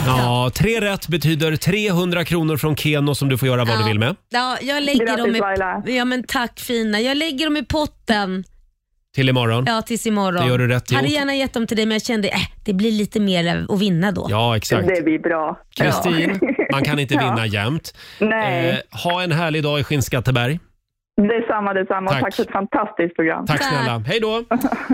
Ja, tre rätt betyder 300 kronor från Keno som du får göra vad du vill med. Ja, jag lägger Grattis, dem Laila. i, ja, men tack fina. Jag lägger dem i potten Till imorgon. ja, tills imorgon. Det gör du rätt i. Hade gärna gett dem till dig men jag kände att äh, det blir lite mer att vinna då. Ja, exakt. Det blir bra. Kristin, man kan inte Ja. vinna jämt. Eh, Nej. ha en härlig dag i Skinnskatteberg. Detsamma, detsamma. Tack. tack för ett fantastiskt program. Tack snälla. Hej då.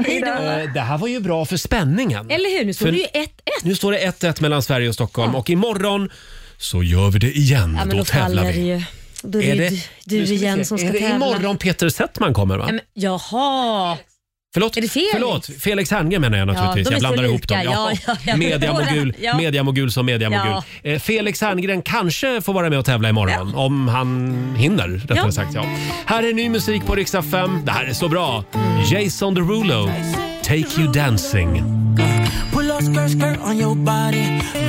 Hej då. Eh, det här var ju bra för spänningen. Eller hur? Nu står För- det ju ett Nu står det 1-1 mellan Sverige och Stockholm och imorgon så gör vi det igen. Ja, men då, då, tävlar faller vi. det ju. Då är, det ju du, nu du ska vi se. igen som ska är det tävla. imorgon Peter Settman kommer va? Ja, men, jaha. Förlåt? Är det Felix? Förlåt, Felix Herngren menar jag Ja, naturligtvis. de är jag så blandar ihop lika. dem. Ja, ja, jag mediamogul, förstår det. Ja. mediamogul som mediamogul. Eh, Felix Herngren kanske får vara med och tävla imorgon. Om han hinner, rättare Ja. sagt. Ja. Här är ny musik på riksdag 5. Det här är så bra. Jason Derulo, Take You Dancing.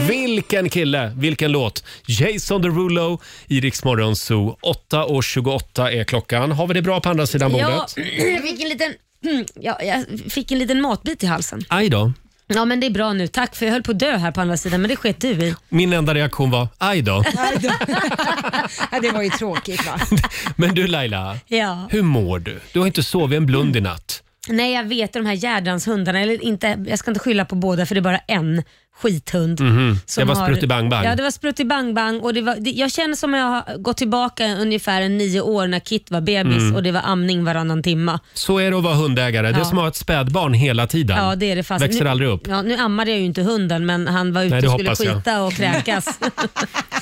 Vilken kille, vilken låt. Jason Derulo i Rix Morgon Zoo. 8.28 är klockan. Har vi det bra på andra sidan bordet? Ja, jag, fick en liten, mm, ja, jag fick en liten matbit i halsen. Aj då. Ja men det är bra nu, tack för jag höll på att dö här på andra sidan men det sket du i. Min enda reaktion var aj då. Ja, det var ju tråkigt va? Men du Laila, Ja. hur mår du? Du har inte sovit en blund i natt. Nej jag vet de här hjärtans hundarna, eller inte, jag ska inte skylla på båda för det är bara en. skithund. Mhm. som Det var har- Sprutti-Bang-Bang. Ja, det var Sprutti-Bang-Bang. och det var- det- Jag känner som att jag har gått tillbaka ungefär en nio år när Kit var bebis Mm. och det var amning varannan timma. Så är det att vara hundägare. Det är Ja. som att ha ett spädbarn hela tiden. Ja, det är det fast. Växer nu, aldrig upp. Ja, nu ammade jag ju inte hunden, men han var ute Nej, det och skulle hoppas jag. skita och kräkas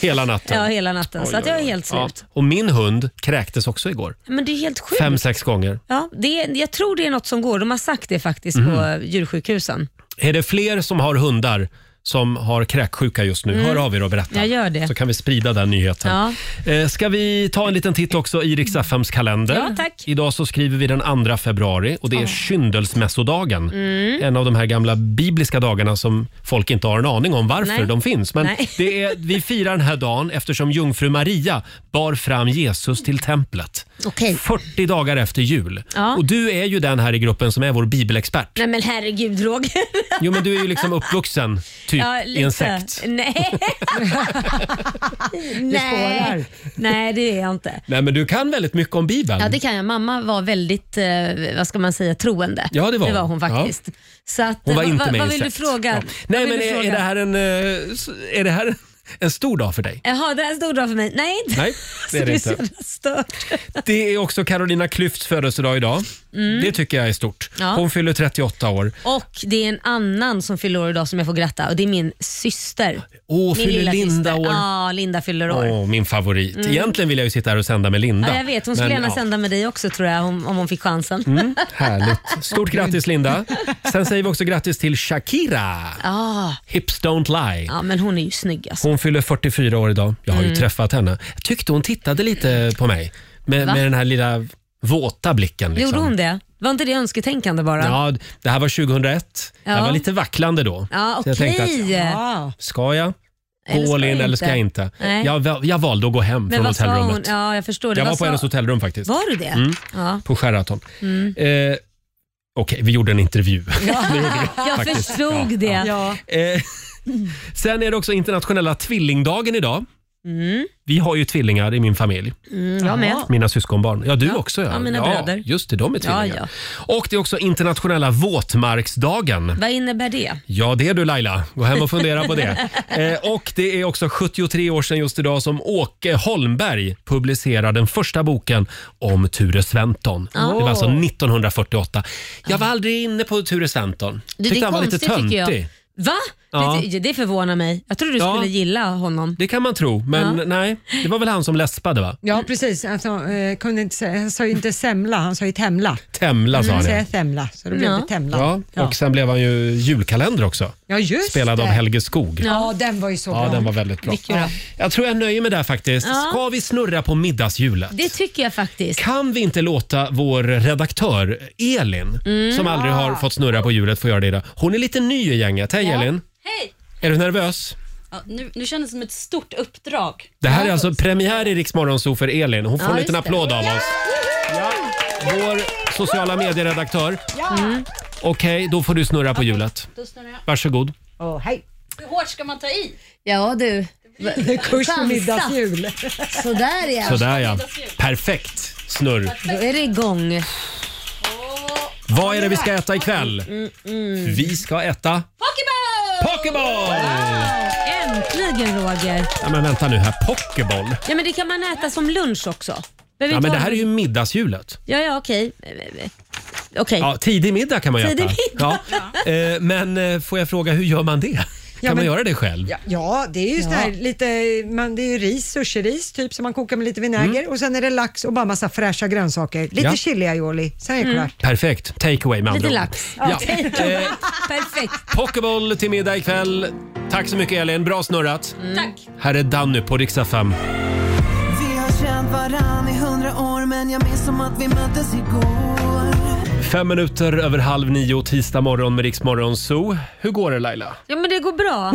Hela natten. ja, hela natten. så att jag är helt slut. Ja. Och min hund kräktes också igår. Men det är helt sjukt. Fem, sex gånger. Ja, det är, jag tror det är något som går. De har sagt det faktiskt Mhm. på djursjukhusen. Är det fler som har hundar som har kräksjuka just nu? Mm. Hör av er och berätta. Jag gör det. Så kan vi sprida den nyheten. Eh, Ska vi ta en liten titt också i Rix FMs kalender? Ja, tack. Idag så skriver vi den 2 februari och det är kyndelsmässodagen. Mm. En av de här gamla bibliska dagarna som folk inte har en aning om varför Nej. de finns. Men Nej. det är, vi firar den här dagen eftersom jungfru Maria bar fram Jesus till templet. 40 dagar efter jul. Ja. Och du är ju den här i gruppen som är vår bibelexpert. Nej men herregud Roger. Jo, men du är ju liksom uppvuxen typ Ja, i en sekt. Nej. spårar. Nej. Nej, det är jag inte. Nej, men du kan väldigt mycket om Bibeln. Ja, det kan jag. Mamma var väldigt, eh, vad ska man säga, troende. Ja, det var det var hon. hon faktiskt. Så att, Hon var eh, inte vad, med i vad en vill du sekt. fråga? Ja. Vad Nej, vill men du är, är fråga? det här en, eh, s- är det här en stor dag för dig? Jaha, det här är en stor dag för mig. Nej, inte. Nej, det är det Så inte. jävla stört. Det är också Carolina Klüfts födelsedag idag. Mm. Det tycker jag är stort. Ja. Hon fyller 38 år. Och det är en annan som fyller år idag som jag får gratta och det är min syster. Åh, min fyller lilla Linda syster. år? Ja, Linda fyller år. Åh, min favorit. Mm. Egentligen vill jag ju sitta här och sända med Linda. Ja, jag vet, hon skulle Men, gärna ja. sända med dig också tror jag om, om hon fick chansen. Mm, härligt. Stort grattis Linda. Sen säger vi också grattis till Shakira. Ah, Hips don't lie. ja, men hon är ju snygg alltså. Hon fyller 44 år idag. Jag har ju Mm. träffat henne. Jag tyckte hon tittade lite på mig med, Va? med den här lilla våta blicken. Liksom. Gjorde hon det? Var inte det önsketänkande bara? Ja, det här var 2001. Jag Ja. var lite vacklande då. Ja, Så jag tänkte att, okej. ska jag Eller gå ska all jag in eller inte? ska jag inte? Nej. Jag, val- jag valde att gå hem Men från vad sa hon? hotellrummet. Ja, jag förstår. Det Jag var Vad på sa- hennes hotellrum faktiskt. Var du det? Mm, Ja. på Sheraton. Mm. Eh, Okej, vi gjorde en intervju. Det gjorde vi Jag faktiskt. förstod Ja, det. ja. Eh, sen är det också internationella tvillingdagen idag. Mm. Vi har ju tvillingar i min familj. Mm, jag med. Mina syskonbarn. Ja, du också. Ja. ja, mina ja, bröder. Just det, de är Ja, tvillingar. Och det är också internationella våtmarksdagen. Vad innebär det? Ja, det är du Laila. Gå hem och fundera på det. Eh, och det är också 73 år sedan just idag som Åke Holmberg publicerar den första boken om Ture Sventon. Ah. Det var alltså 1948. Jag var aldrig inne på Ture Sventon. Du, det Tyckte är han var lite konstigt tycker jag. töntig. Va? Ja. Det, det förvånar mig. Jag trodde du Ja. skulle gilla honom. Det kan man tro, men Ja. nej. Det var väl han som läspade va? Ja, precis. Alltså, eh, kunde inte, säga- han sa ju inte semla, han sa ju temla. Temla sa Mm. han Säger ja. jag temla, så då blev det temla. Ja, och sen blev han ju julkalender också. Ja, just Spelad det. av Helge Skog. Ja, den var ju så Ja, bra. den var väldigt bra. Mycket bra. Jag tror jag nöjer mig där faktiskt. Ja. Ska vi snurra på middagshjulet? Det tycker jag faktiskt. Kan vi inte låta vår redaktör Elin, Mm. som aldrig har fått snurra på hjulet, få göra det idag? Hon är lite ny i gänget. Hej Elin! Hej! Är du nervös? Ja, nu, nu känns det som ett stort uppdrag. Det här är alltså premiär i Rix Morgonzoo för Elin. Hon får Ja, en just liten det. applåd av oss. Vår sociala medieredaktör. Mm. Okej, då får du snurra på hjulet. Då snurrar jag. Varsågod. Åh, hej. Hur hårt ska man ta i? Ja du. Det är kurs för Chansa. middagshjul. Sådär ja. Sådär ja. Perfekt snurr. Då är det igång. Vad är det vi ska äta ikväll? Mm, mm. Vi ska äta... Pokéball! Pokéball! Äntligen Roger. Ja, men vänta nu här. Pokéboll? Ja, men det kan man äta som lunch också. Behöver Ja, inte men det ha- här är ju middagshjulet. Ja, ja okej. Okej. Ja, tidig middag kan man ju Tidig äta. middag. Ja. Eh, Men eh, får jag fråga, hur gör man det? Kan Ja, man men- göra det själv? Ja, ja, det är ju sån här lite, man, det är ju ris, sushiris typ som man kokar med lite vinäger och sen är det lax och bara massa fräscha grönsaker. Lite Mm. Ja. Mm. chili aioli, sen är det klart. Perfekt. Take away med andra ord. Ja. Eh, Perfekt. Pokéball till middag ikväll. Tack så mycket Elin, bra snurrat. Tack. Mm. Här är Danny på riksdag 5. Vi har känt varann i hundra år men jag minns som att vi möttes igår. Fem minuter över halv nio tisdag morgon med Riksmorgon Zoo. Hur går det Laila? Ja, men det går bra.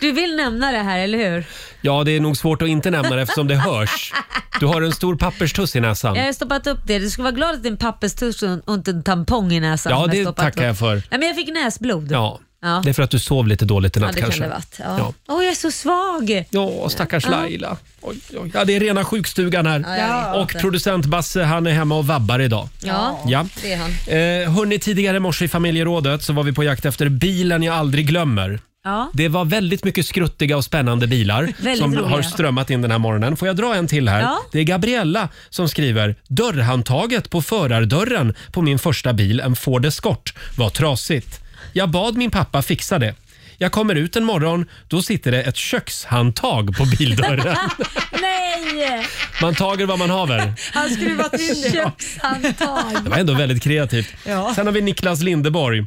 Du vill nämna det här, eller hur? Ja, det är nog svårt att inte nämna det eftersom det hörs. Du har en stor papperstuss i näsan. Jag har stoppat upp det. Du ska vara glad att det är en papperstuss och och inte en tampong i näsan. Ja, som jag det stoppat tackar upp. jag för. Ja, men jag fick näsblod. Ja, Ja. det är för att du sov lite dåligt i Ja, natt det kan kanske. det varit. Ja. Åh, jag är så svag. Ja, stackars Ja. Laila. Oj, oj. Ja, det är rena sjukstugan här. Ja, jag vet och inte. producent Basse, han är hemma och vabbar idag. Ja, ja. det är han. Eh, hörni, tidigare i morse i familjerådet så var vi på jakt efter bilen jag aldrig glömmer. Ja. Det var väldigt mycket skruttiga och spännande bilar Väldigt som roliga. har strömmat in den här morgonen. Får jag dra en till här? Ja. Det är Gabriella som skriver “Dörrhandtaget på förardörren på min första bil, en Ford Escort, var trasigt. Jag bad min pappa fixa det. Jag kommer ut en morgon, då sitter det ett kökshandtag på bildörren. Nej! Man tager vad man haver. Han skruvat in det. Kökshandtag. Det var ändå väldigt kreativt. Ja. Sen har vi Niklas Lindeborg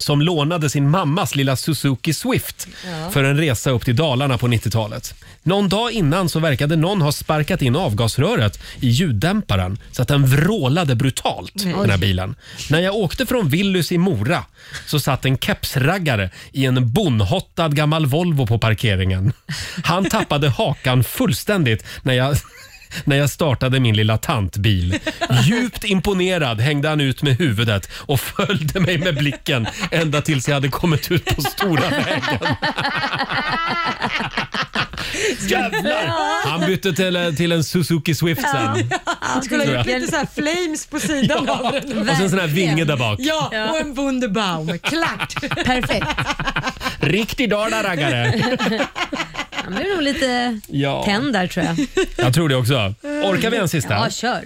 som lånade sin mammas lilla Suzuki Swift Ja. för en resa upp till Dalarna på 90-talet. Någon dag innan så verkade någon ha sparkat in avgasröret i ljuddämparen så att den vrålade brutalt, Nej. den här bilen. När jag åkte från Willys i Mora så satt en kepsraggare i en bonhottad gammal Volvo på parkeringen. Han tappade hakan fullständigt när jag när jag startade min lilla tantbil. Djupt imponerad hängde han ut med huvudet och följde mig med blicken ända tills jag hade kommit ut på stora vägen. Jävlar! Han bytte till, till en Suzuki Swift sen. Han skulle ha gjort Tror jag. lite så här flames på sidan Ja, av den. och sen sån här vinge där bak. Ja, och en Wunderbaum. Klart! Perfekt. Riktig Dala-raggare. Han blev nog lite Ja. tänd där tror jag. Jag tror det också. Orkar vi en sista? Ja, kör.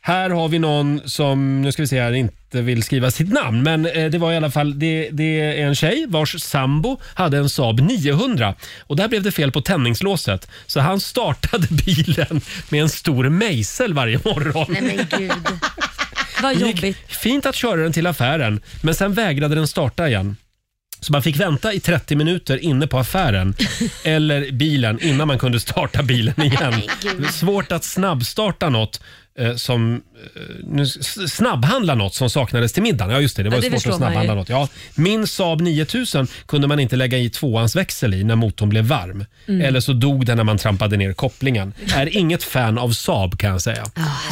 Här har vi någon som, nu ska vi se här, inte vill skriva sitt namn, men eh, det var i alla fall, det, det är en tjej vars sambo hade en Saab 900 och där blev det fel på tändningslåset så han startade bilen med en stor mejsel varje morgon. Nej men gud. Vad Det gick jobbigt. Fint att köra den till affären, men sen vägrade den starta igen. Så man fick vänta i 30 minuter inne på affären eller bilen innan man kunde starta bilen igen. Herregud. Svårt att snabbstarta något eh, som... eh, Nu, s- snabbhandla något som saknades till middagen. Ja, just det. Det var Ja, det ju svårt att förstår man ju. snabbhandla något. Ja, min Saab 9000 kunde man inte lägga i tvåans växel i när motorn blev varm. Mm. Eller så dog den när man trampade ner kopplingen. Är inget fan av Saab kan jag säga,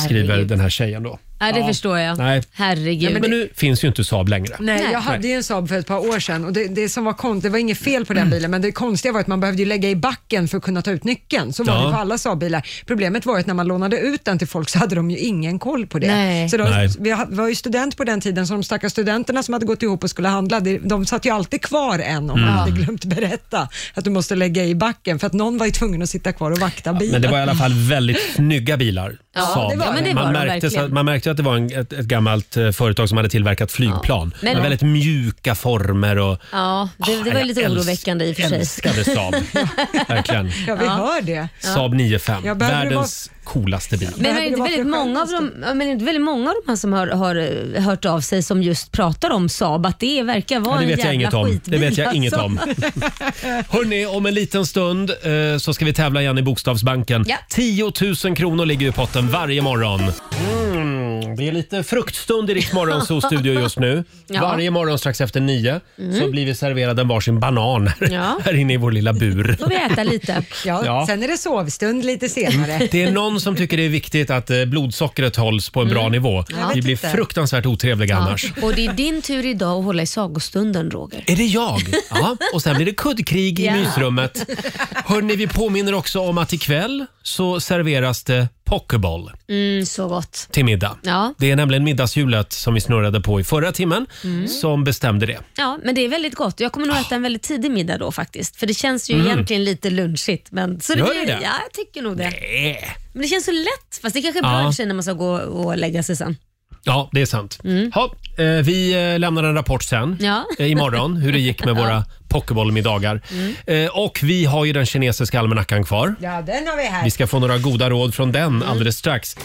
skriver den här tjejen då. Nej, det Ja. förstår jag. Nej. Herregud. men, nu finns ju inte Saab längre. Nej, jag hade ju en Saab för ett par år sedan och det, det som var konstigt, det var inget fel på den Mm. bilen, men det konstiga var att man behövde ju lägga i backen för att kunna ta ut nyckeln. Så var Ja. det på alla Saab-bilar. Problemet var ju att när man lånade ut den till folk så hade de ju ingen koll på det. Nej. Så de, Nej. vi ha- var ju student på den tiden, så de stackars studenterna som hade gått ihop och skulle handla, de, de satt ju alltid kvar en om Mm. man hade glömt berätta att du måste lägga i backen för att någon var ju tvungen att sitta kvar och vakta bilen. Men det var i alla fall väldigt snygga bilar. Ja, Saab. det var Ja, men det. det man, var de märkte, så- verkligen. man märkte att det var en, ett, ett gammalt eh, företag som hade tillverkat flygplan. Men- Med väldigt mjuka former och Ah, Ja, det, det var ju jag lite älsk- oroväckande i och för sig. älskade Saab. verkligen. Ja, vi hör det. Saab 95, Jag behöver världens coolaste bil. Men är det inte väldigt många av dem, ja, men är det inte väldigt många av de här som har, har eh, hört av sig som just pratar om Saab, att det verkar vara Ja, det en vet jag jävla inget om. skitbil. Det vet jag inget om. alltså. Hörni, om en liten stund eh, så ska vi tävla igen i Bokstavsbanken. Ja. 10 000 kronor ligger i potten varje morgon. Mm, det är lite fruktstund i Rix Morgonzoos studio just nu. Ja. Varje morgon strax efter nio Mm. så blir vi serverade en varsin banan här, Ja. här inne i vår lilla bur. vi äta lite. Ja, Ja. Sen är det sovstund lite senare. Det är någon som tycker det är viktigt att eh, blodsockret hålls på en bra nivå. Jag vet Vi blir inte. fruktansvärt otrevliga annars. Ja. Och det är din tur idag att hålla i sagostunden Roger. Är det jag? Ja, och sen blir det kuddkrig i Ja. mysrummet. Hörni, vi påminner också om att ikväll så serveras det pokeball Mm, så gott. till middag. Ja. Det är nämligen middagshjulet som vi snurrade på i förra timmen Mm. som bestämde det. Ja, men det är väldigt gott. Jag kommer nog äta en väldigt tidig middag då faktiskt. För det känns ju Mm. egentligen lite lunchigt. Men, så det Gör blir, det det? Ja, jag tycker nog det. Nej. Men det känns så lätt. Fast det kanske är bra Ja. i och för sig när man ska gå och lägga sig sen. Ja, det är sant. Ha, eh, vi eh, lämnar en rapport sen Mm. Ja. eh, imorgon hur det gick med våra pokebollmiddagar. Mm. Eh, Och vi har ju den kinesiska almanackan kvar. Ja, den har vi här. Vi ska få några goda råd från Mm. den alldeles strax.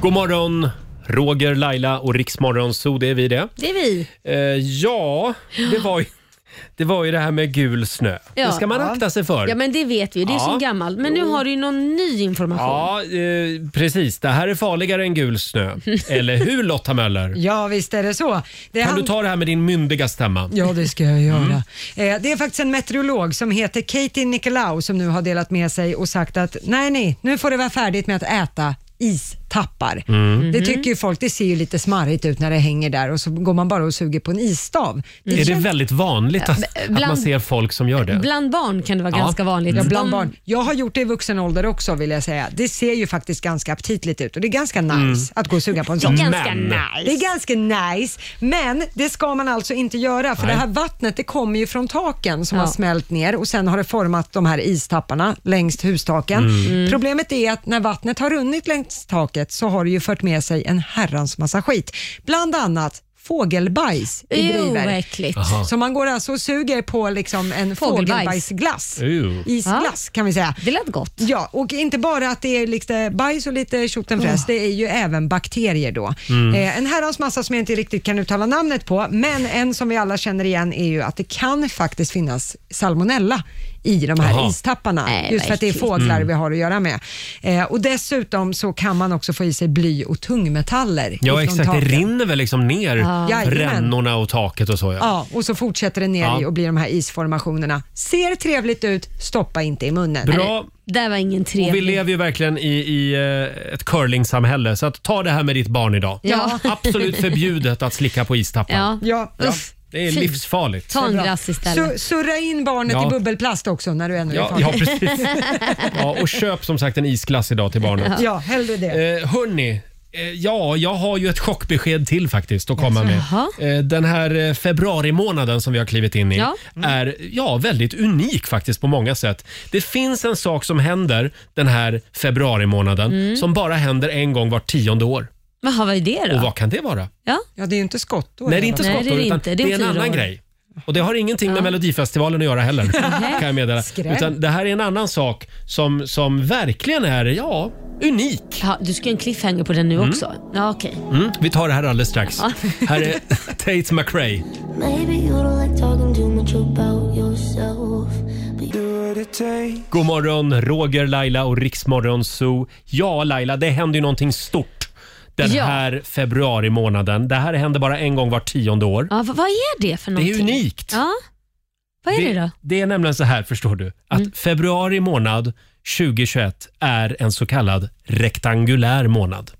God morgon, Roger, Laila och Riksmorgon Zoo, det är vi det. Det är vi. Eh, ja, det var, ju, det var ju det här med gul snö. Ja. Det ska man akta sig för. Ja, men det vet vi. Det är Ja. så gammalt. Men nu har du ju någon ny information. Ja, eh, precis. Det här är farligare än gul snö. Eller hur Lotta Möller? Ja, visst är det så. Det Kan du hand- ta det här med din myndiga stämma? Ja, det ska jag göra. Mm. Eh, Det är faktiskt en meteorolog som heter Katie Nicolau som nu har delat med sig och sagt att nej, nej, nu får det vara färdigt med att äta istacos. tappar. Mm. Det tycker ju folk, det ser ju lite smarrigt ut när det hänger där och så går man bara och suger på en isstav. Mm. Är det känns- väldigt vanligt att, Bland- att man ser folk som gör det? Bland barn kan det vara ganska vanligt. Mm. Ja, De- bland barn. Jag har gjort det i vuxen ålder också vill jag säga. Det ser ju faktiskt ganska aptitligt ut och det är ganska nice Mm. att gå och suga på en Det är sån. ganska Men- nice. Det är ganska nice, men det ska man alltså inte göra för Nej. det här vattnet det kommer ju från taken som Ja. har smält ner och sen har det format de här istapparna längs hustaken. Mm. Mm. Problemet är att när vattnet har runnit längs taket så har det ju fört med sig en herrans massa skit. Bland annat fågelbajs i Ew, drivor. vad äckligt. Aha. Så man går alltså och suger på liksom en Fågelbajs. fågelbajsglass. Ew. Isglass kan vi säga. Det lät gott. Ja, och inte bara att det är lite bajs och lite tjottenfräs, Oh. Mm. det är ju även bakterier då. Mm. Eh, en herrans massa som jag inte riktigt kan uttala namnet på, men en som vi alla känner igen är ju att det kan faktiskt finnas salmonella i de här Jaha. istapparna, Nej, just för att det är verkligen. fåglar Mm. vi har att göra med. Eh, och dessutom så kan man också få i sig bly och tungmetaller Ja, ifrån exakt. Det taken. rinner väl liksom ner Ja. Jajamän. rännorna och taket och så. Ja. Ja, och så fortsätter det ner Ja. i och blir de här isformationerna. Ser trevligt ut, stoppa inte i munnen. Bra. Det där var ingen trevlig... Och vi lever ju verkligen i, i eh, ett curlingsamhälle, så att ta det här med ditt barn idag. Ja. Absolut förbjudet att slicka på istappar. Ja. Ja. Det är Fy. livsfarligt. Ta en glass istället. Su- surra in barnet Ja. i bubbelplast också när du ännu är Ja, kvar. ja, precis. Ja, och köp som sagt en isglass idag till barnet. Ja, hellre det. Eh, hörni, eh, ja, jag har ju ett chockbesked till faktiskt att komma med. Jaha. Eh, den här eh, februarimånaden som vi har klivit in i Ja. är ja, väldigt unik faktiskt på många sätt. Det finns en sak som händer den här februarimånaden Mm. som bara händer en gång vart tionde år. Jaha, vad är det då? Och vad kan det vara? Ja. ja, det är ju inte skottår. Nej, det är inte skottår, Nej, det är utan inte. det är en fyra annan år. grej. Och det har ingenting med Melodifestivalen att göra heller. Nähä. kan jag meddela. Skräll. Utan det här är en annan sak som, som verkligen är, ja, unik. Ja, du ska göra en cliffhanger på den nu Mm. också? Ja, okej. Mm, vi tar det här alldeles strax. Ja. Här är Tate McRae. Maybe you don't like talking too much about yourself. But do what it takes. God morgon, Roger, Laila och Riksmorgon Zoo. Ja, Laila, det händer ju någonting stort den Ja. här februari månaden. Det här händer bara en gång var tionde år. Ja, vad, vad är det för Det är någonting? unikt. Ja. Vad är det, då? Mm. Det är nämligen så här, förstår du, att februari månad 2021 är en så kallad rektangulär månad.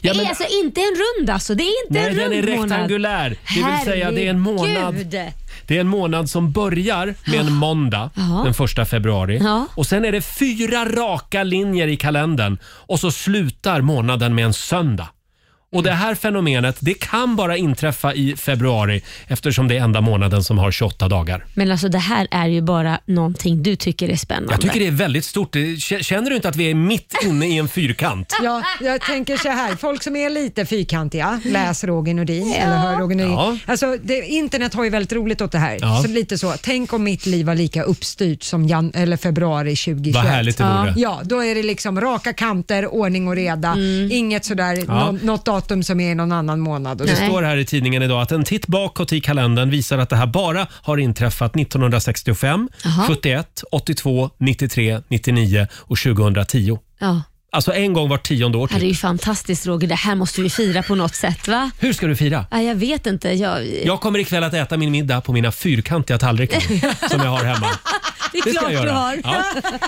Ja, det är men- alltså inte en rund alltså. Det är inte Nej, en den rund är månad. rektangulär. Det vill säga, det är en månad Herregud. Det är en månad som börjar med en måndag Ja. den första februari. Ja. Och Sen är det fyra raka linjer i kalendern och så slutar månaden med en söndag. Och Mm. Det här fenomenet det kan bara inträffa i februari eftersom det är enda månaden som har 28 dagar. Men alltså det här är ju bara någonting du tycker är spännande. Jag tycker det är väldigt stort. Det- k- Känner du inte att vi är mitt inne i en fyrkant? Ja, jag tänker så här, folk som är lite fyrkantiga, läs Roger Nordin eller hör Roger Nordin. Mm. Ja. Alltså, det, internet har ju väldigt roligt åt det här. Ja. Så lite så, tänk om mitt liv var lika uppstyrt som jan, eller februari 2021. Vad härligt det ja. vore. ja, då är det liksom raka kanter, ordning och reda. Inget sådär, Ja. nå, något datum som är i någon annan månad. Och Det så. står här i tidningen idag att en titt bakåt i kalendern visar att det här bara har inträffat 1965, Jaha. 71, 82, 93, 99 och 2010. Ja. Alltså en gång vart tionde år Ja, Det är typ. ju fantastiskt Roger. Det här måste vi fira på något sätt va? Hur ska du fira? Ja, jag vet inte. Jag... Jag kommer ikväll att äta min middag på mina fyrkantiga tallrikar som jag har hemma. Det är ska klart jag göra. du har. Ja.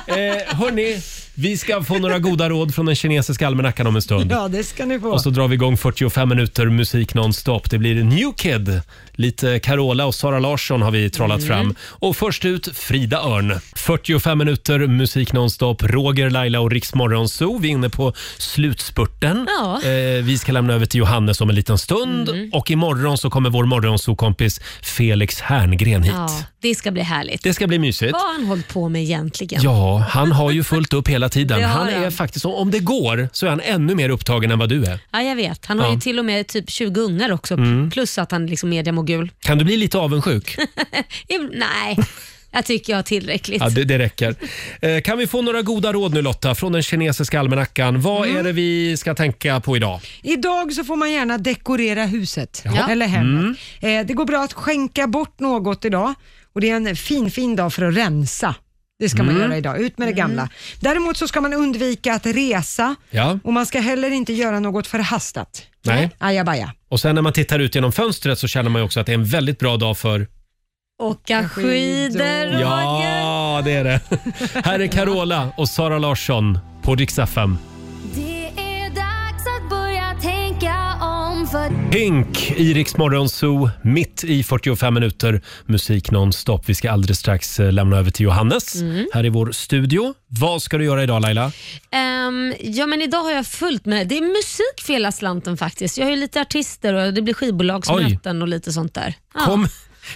Eh, hörni, vi ska få några goda råd från den kinesiska almanackan om en stund. Ja, det ska ni få. Och så drar vi igång 45 minuter musik nonstop. Det blir New Kid. Lite Carola och Sara Larsson har vi trollat Mm. fram. Och först ut Frida Örn. 45 minuter musik nonstop. Roger, Laila och Riksmorgon Zoo. Vi är inne på slutspurten. Ja. Eh, vi ska lämna över till Johannes om en liten stund. Och imorgon så kommer vår morgonzoo-kompis Felix Herngren hit. Ja, det ska bli härligt. Det ska bli mysigt. Vad har han hållit på med egentligen? Ja, han har ju fullt upp hela tiden. Det har Han är han. faktiskt, om det går, så är han ännu mer upptagen än vad du är. Ja, jag vet. Han har Ja. ju till och med typ 20 ungar också. Mm. Plus att han liksom är mediamogul. Kan du bli lite avundsjuk? Nej, jag tycker jag har tillräckligt. Ja, det, det räcker. Eh, Kan vi få några goda råd nu Lotta från den kinesiska almanackan? Vad är det vi ska tänka på idag? Idag så får man gärna dekorera huset Ja. eller hemmet. Eh, det går bra att skänka bort något idag och det är en fin, fin dag för att rensa. Det ska man Mm. göra idag, ut med det gamla. Däremot så ska man undvika att resa Ja. och man ska heller inte göra något förhastat. Nej. Ajabaja. Och sen när man tittar ut genom fönstret så känner man ju också att det är en väldigt bra dag för... Åka skidor. Ja, det är det. Här är Carola och Sara Larsson på Rix FM. Det Pink i Rix Morgon Zoo, mitt i 45 minuter musik nonstop. Vi ska alldeles strax eh, lämna över till Johannes Mm. här i vår studio. Vad ska du göra idag Laila? Ehm, ja, men idag har jag fullt med... Det är musik för hela slanten faktiskt. Jag har ju lite artister och det blir skivbolagsmöten och lite sånt där. Ja. Kom,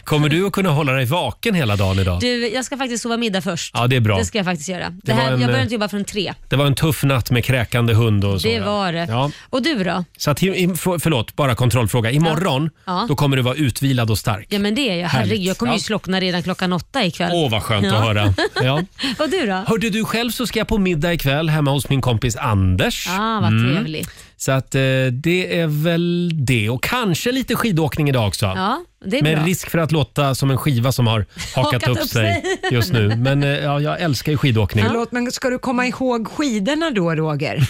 kommer du att kunna hålla dig vaken hela dagen idag? Du, jag ska faktiskt sova middag först. Ja, det är bra. Det ska jag faktiskt göra. Det Det var här, en, jag börjar eh, inte jobba från tre. Det var en tuff natt med kräkande hund och så. Det ja. var det. Ja. Och du då? Så att, i- i- för- förlåt, bara kontrollfråga. Imorgon Ja. Då kommer du vara utvilad och stark. Ja men det är jag. Härligt. Herregud, jag kommer ju Ja. slockna redan klockan åtta ikväll. Åh, vad skönt Ja. att höra. Ja. Och du då? Hörde du själv så ska jag på middag ikväll hemma hos min kompis Anders. Ah, vad Mm. trevligt. Så att eh, det är väl det. Och kanske lite skidåkning idag också. Ja, det är Med bra. risk för att låta som en skiva som har hakat, upp, sig just nu. Men eh, ja, jag älskar ju skidåkning. Förlåt, men ska du komma ihåg skidorna då, Roger?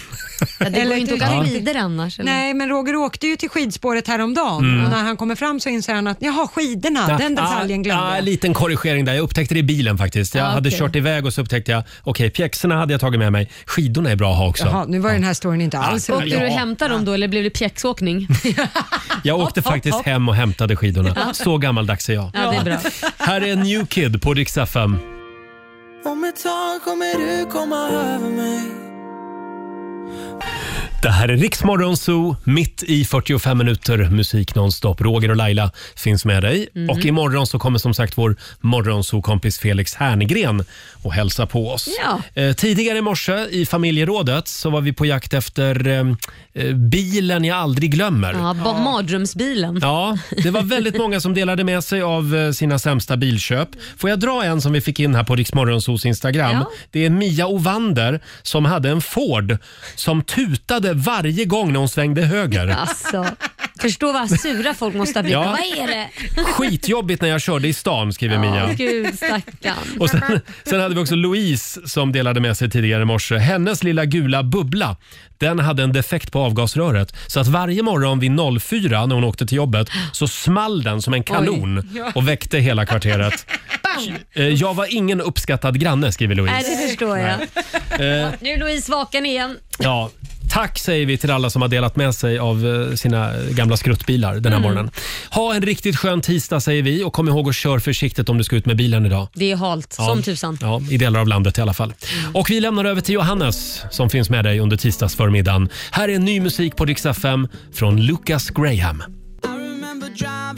Ja, det går ju inte att åka Ja. skidor annars. Eller? Nej, men Roger åkte ju till skidspåret häromdagen Mm. och när han kommer fram så inser han att jaha, skidorna, Ja, den detaljen ja, glömde ja, jag. liten korrigering där. Jag upptäckte det i bilen faktiskt. Jag Ja, hade okej. kört iväg och så upptäckte jag, okej pjäxorna hade jag tagit med mig. Skidorna är bra att ha också. Jaha, nu var ju den här storyn inte alls Ja, Åkte du och hämtade dem då eller blev det pjäxåkning? Jag åkte faktiskt hopp. hem och hämtade skidorna. Ja. Så gammaldags är jag. Ja, det är bra. Här är New Kid på Dix FM. Om ett tag kommer du komma över mig Det här är Riksmorgon Zoo, mitt i 45 minuter musik nonstop. Roger och Laila finns med dig. Mm. Och imorgon så kommer som sagt vår morgonzoo-kompis Felix Herngren och hälsa på oss. Ja. Eh, tidigare i morse i familjerådet så var vi på jakt efter eh, eh, bilen jag aldrig glömmer. Ja, ba- mardrömsbilen. Ja, det var väldigt många som delade med sig av eh, sina sämsta bilköp. Får jag dra en som vi fick in här på Riksmorgonsos Instagram? Ja. Det är Mia Ovander som hade en Ford som tutade varje gång när hon svängde höger. Alltså, förstå vad sura folk måste ha blivit. Ja. Vad är det? Skitjobbigt när jag körde i stan, skriver Mia. Gud stackarn. Och sen, sen hade vi också Louise som delade med sig tidigare i morse. Hennes lilla gula bubbla den hade en defekt på avgasröret. Så att varje morgon vid 04 när hon åkte till jobbet så small den som en kanon Ja. och väckte hela kvarteret. Bang! Eh, Jag var ingen uppskattad granne, skriver Nej, Louise. det förstår jag. Eh, Nu är Louise vaken igen. ja, tack säger vi till alla som har delat med sig av eh, sina gamla skruttbilar den här Mm. morgonen. Ha en riktigt skön tisdag säger vi och kom ihåg att kör försiktigt om du ska ut med bilen idag. Det är halt Ja. som tusan. Mm. Ja, I delar av landet i alla fall. Och Vi lämnar över till Johannes som finns med dig under tisdagsförmiddagen. Här är ny musik på Riksa 5 från Lucas Graham. remember driving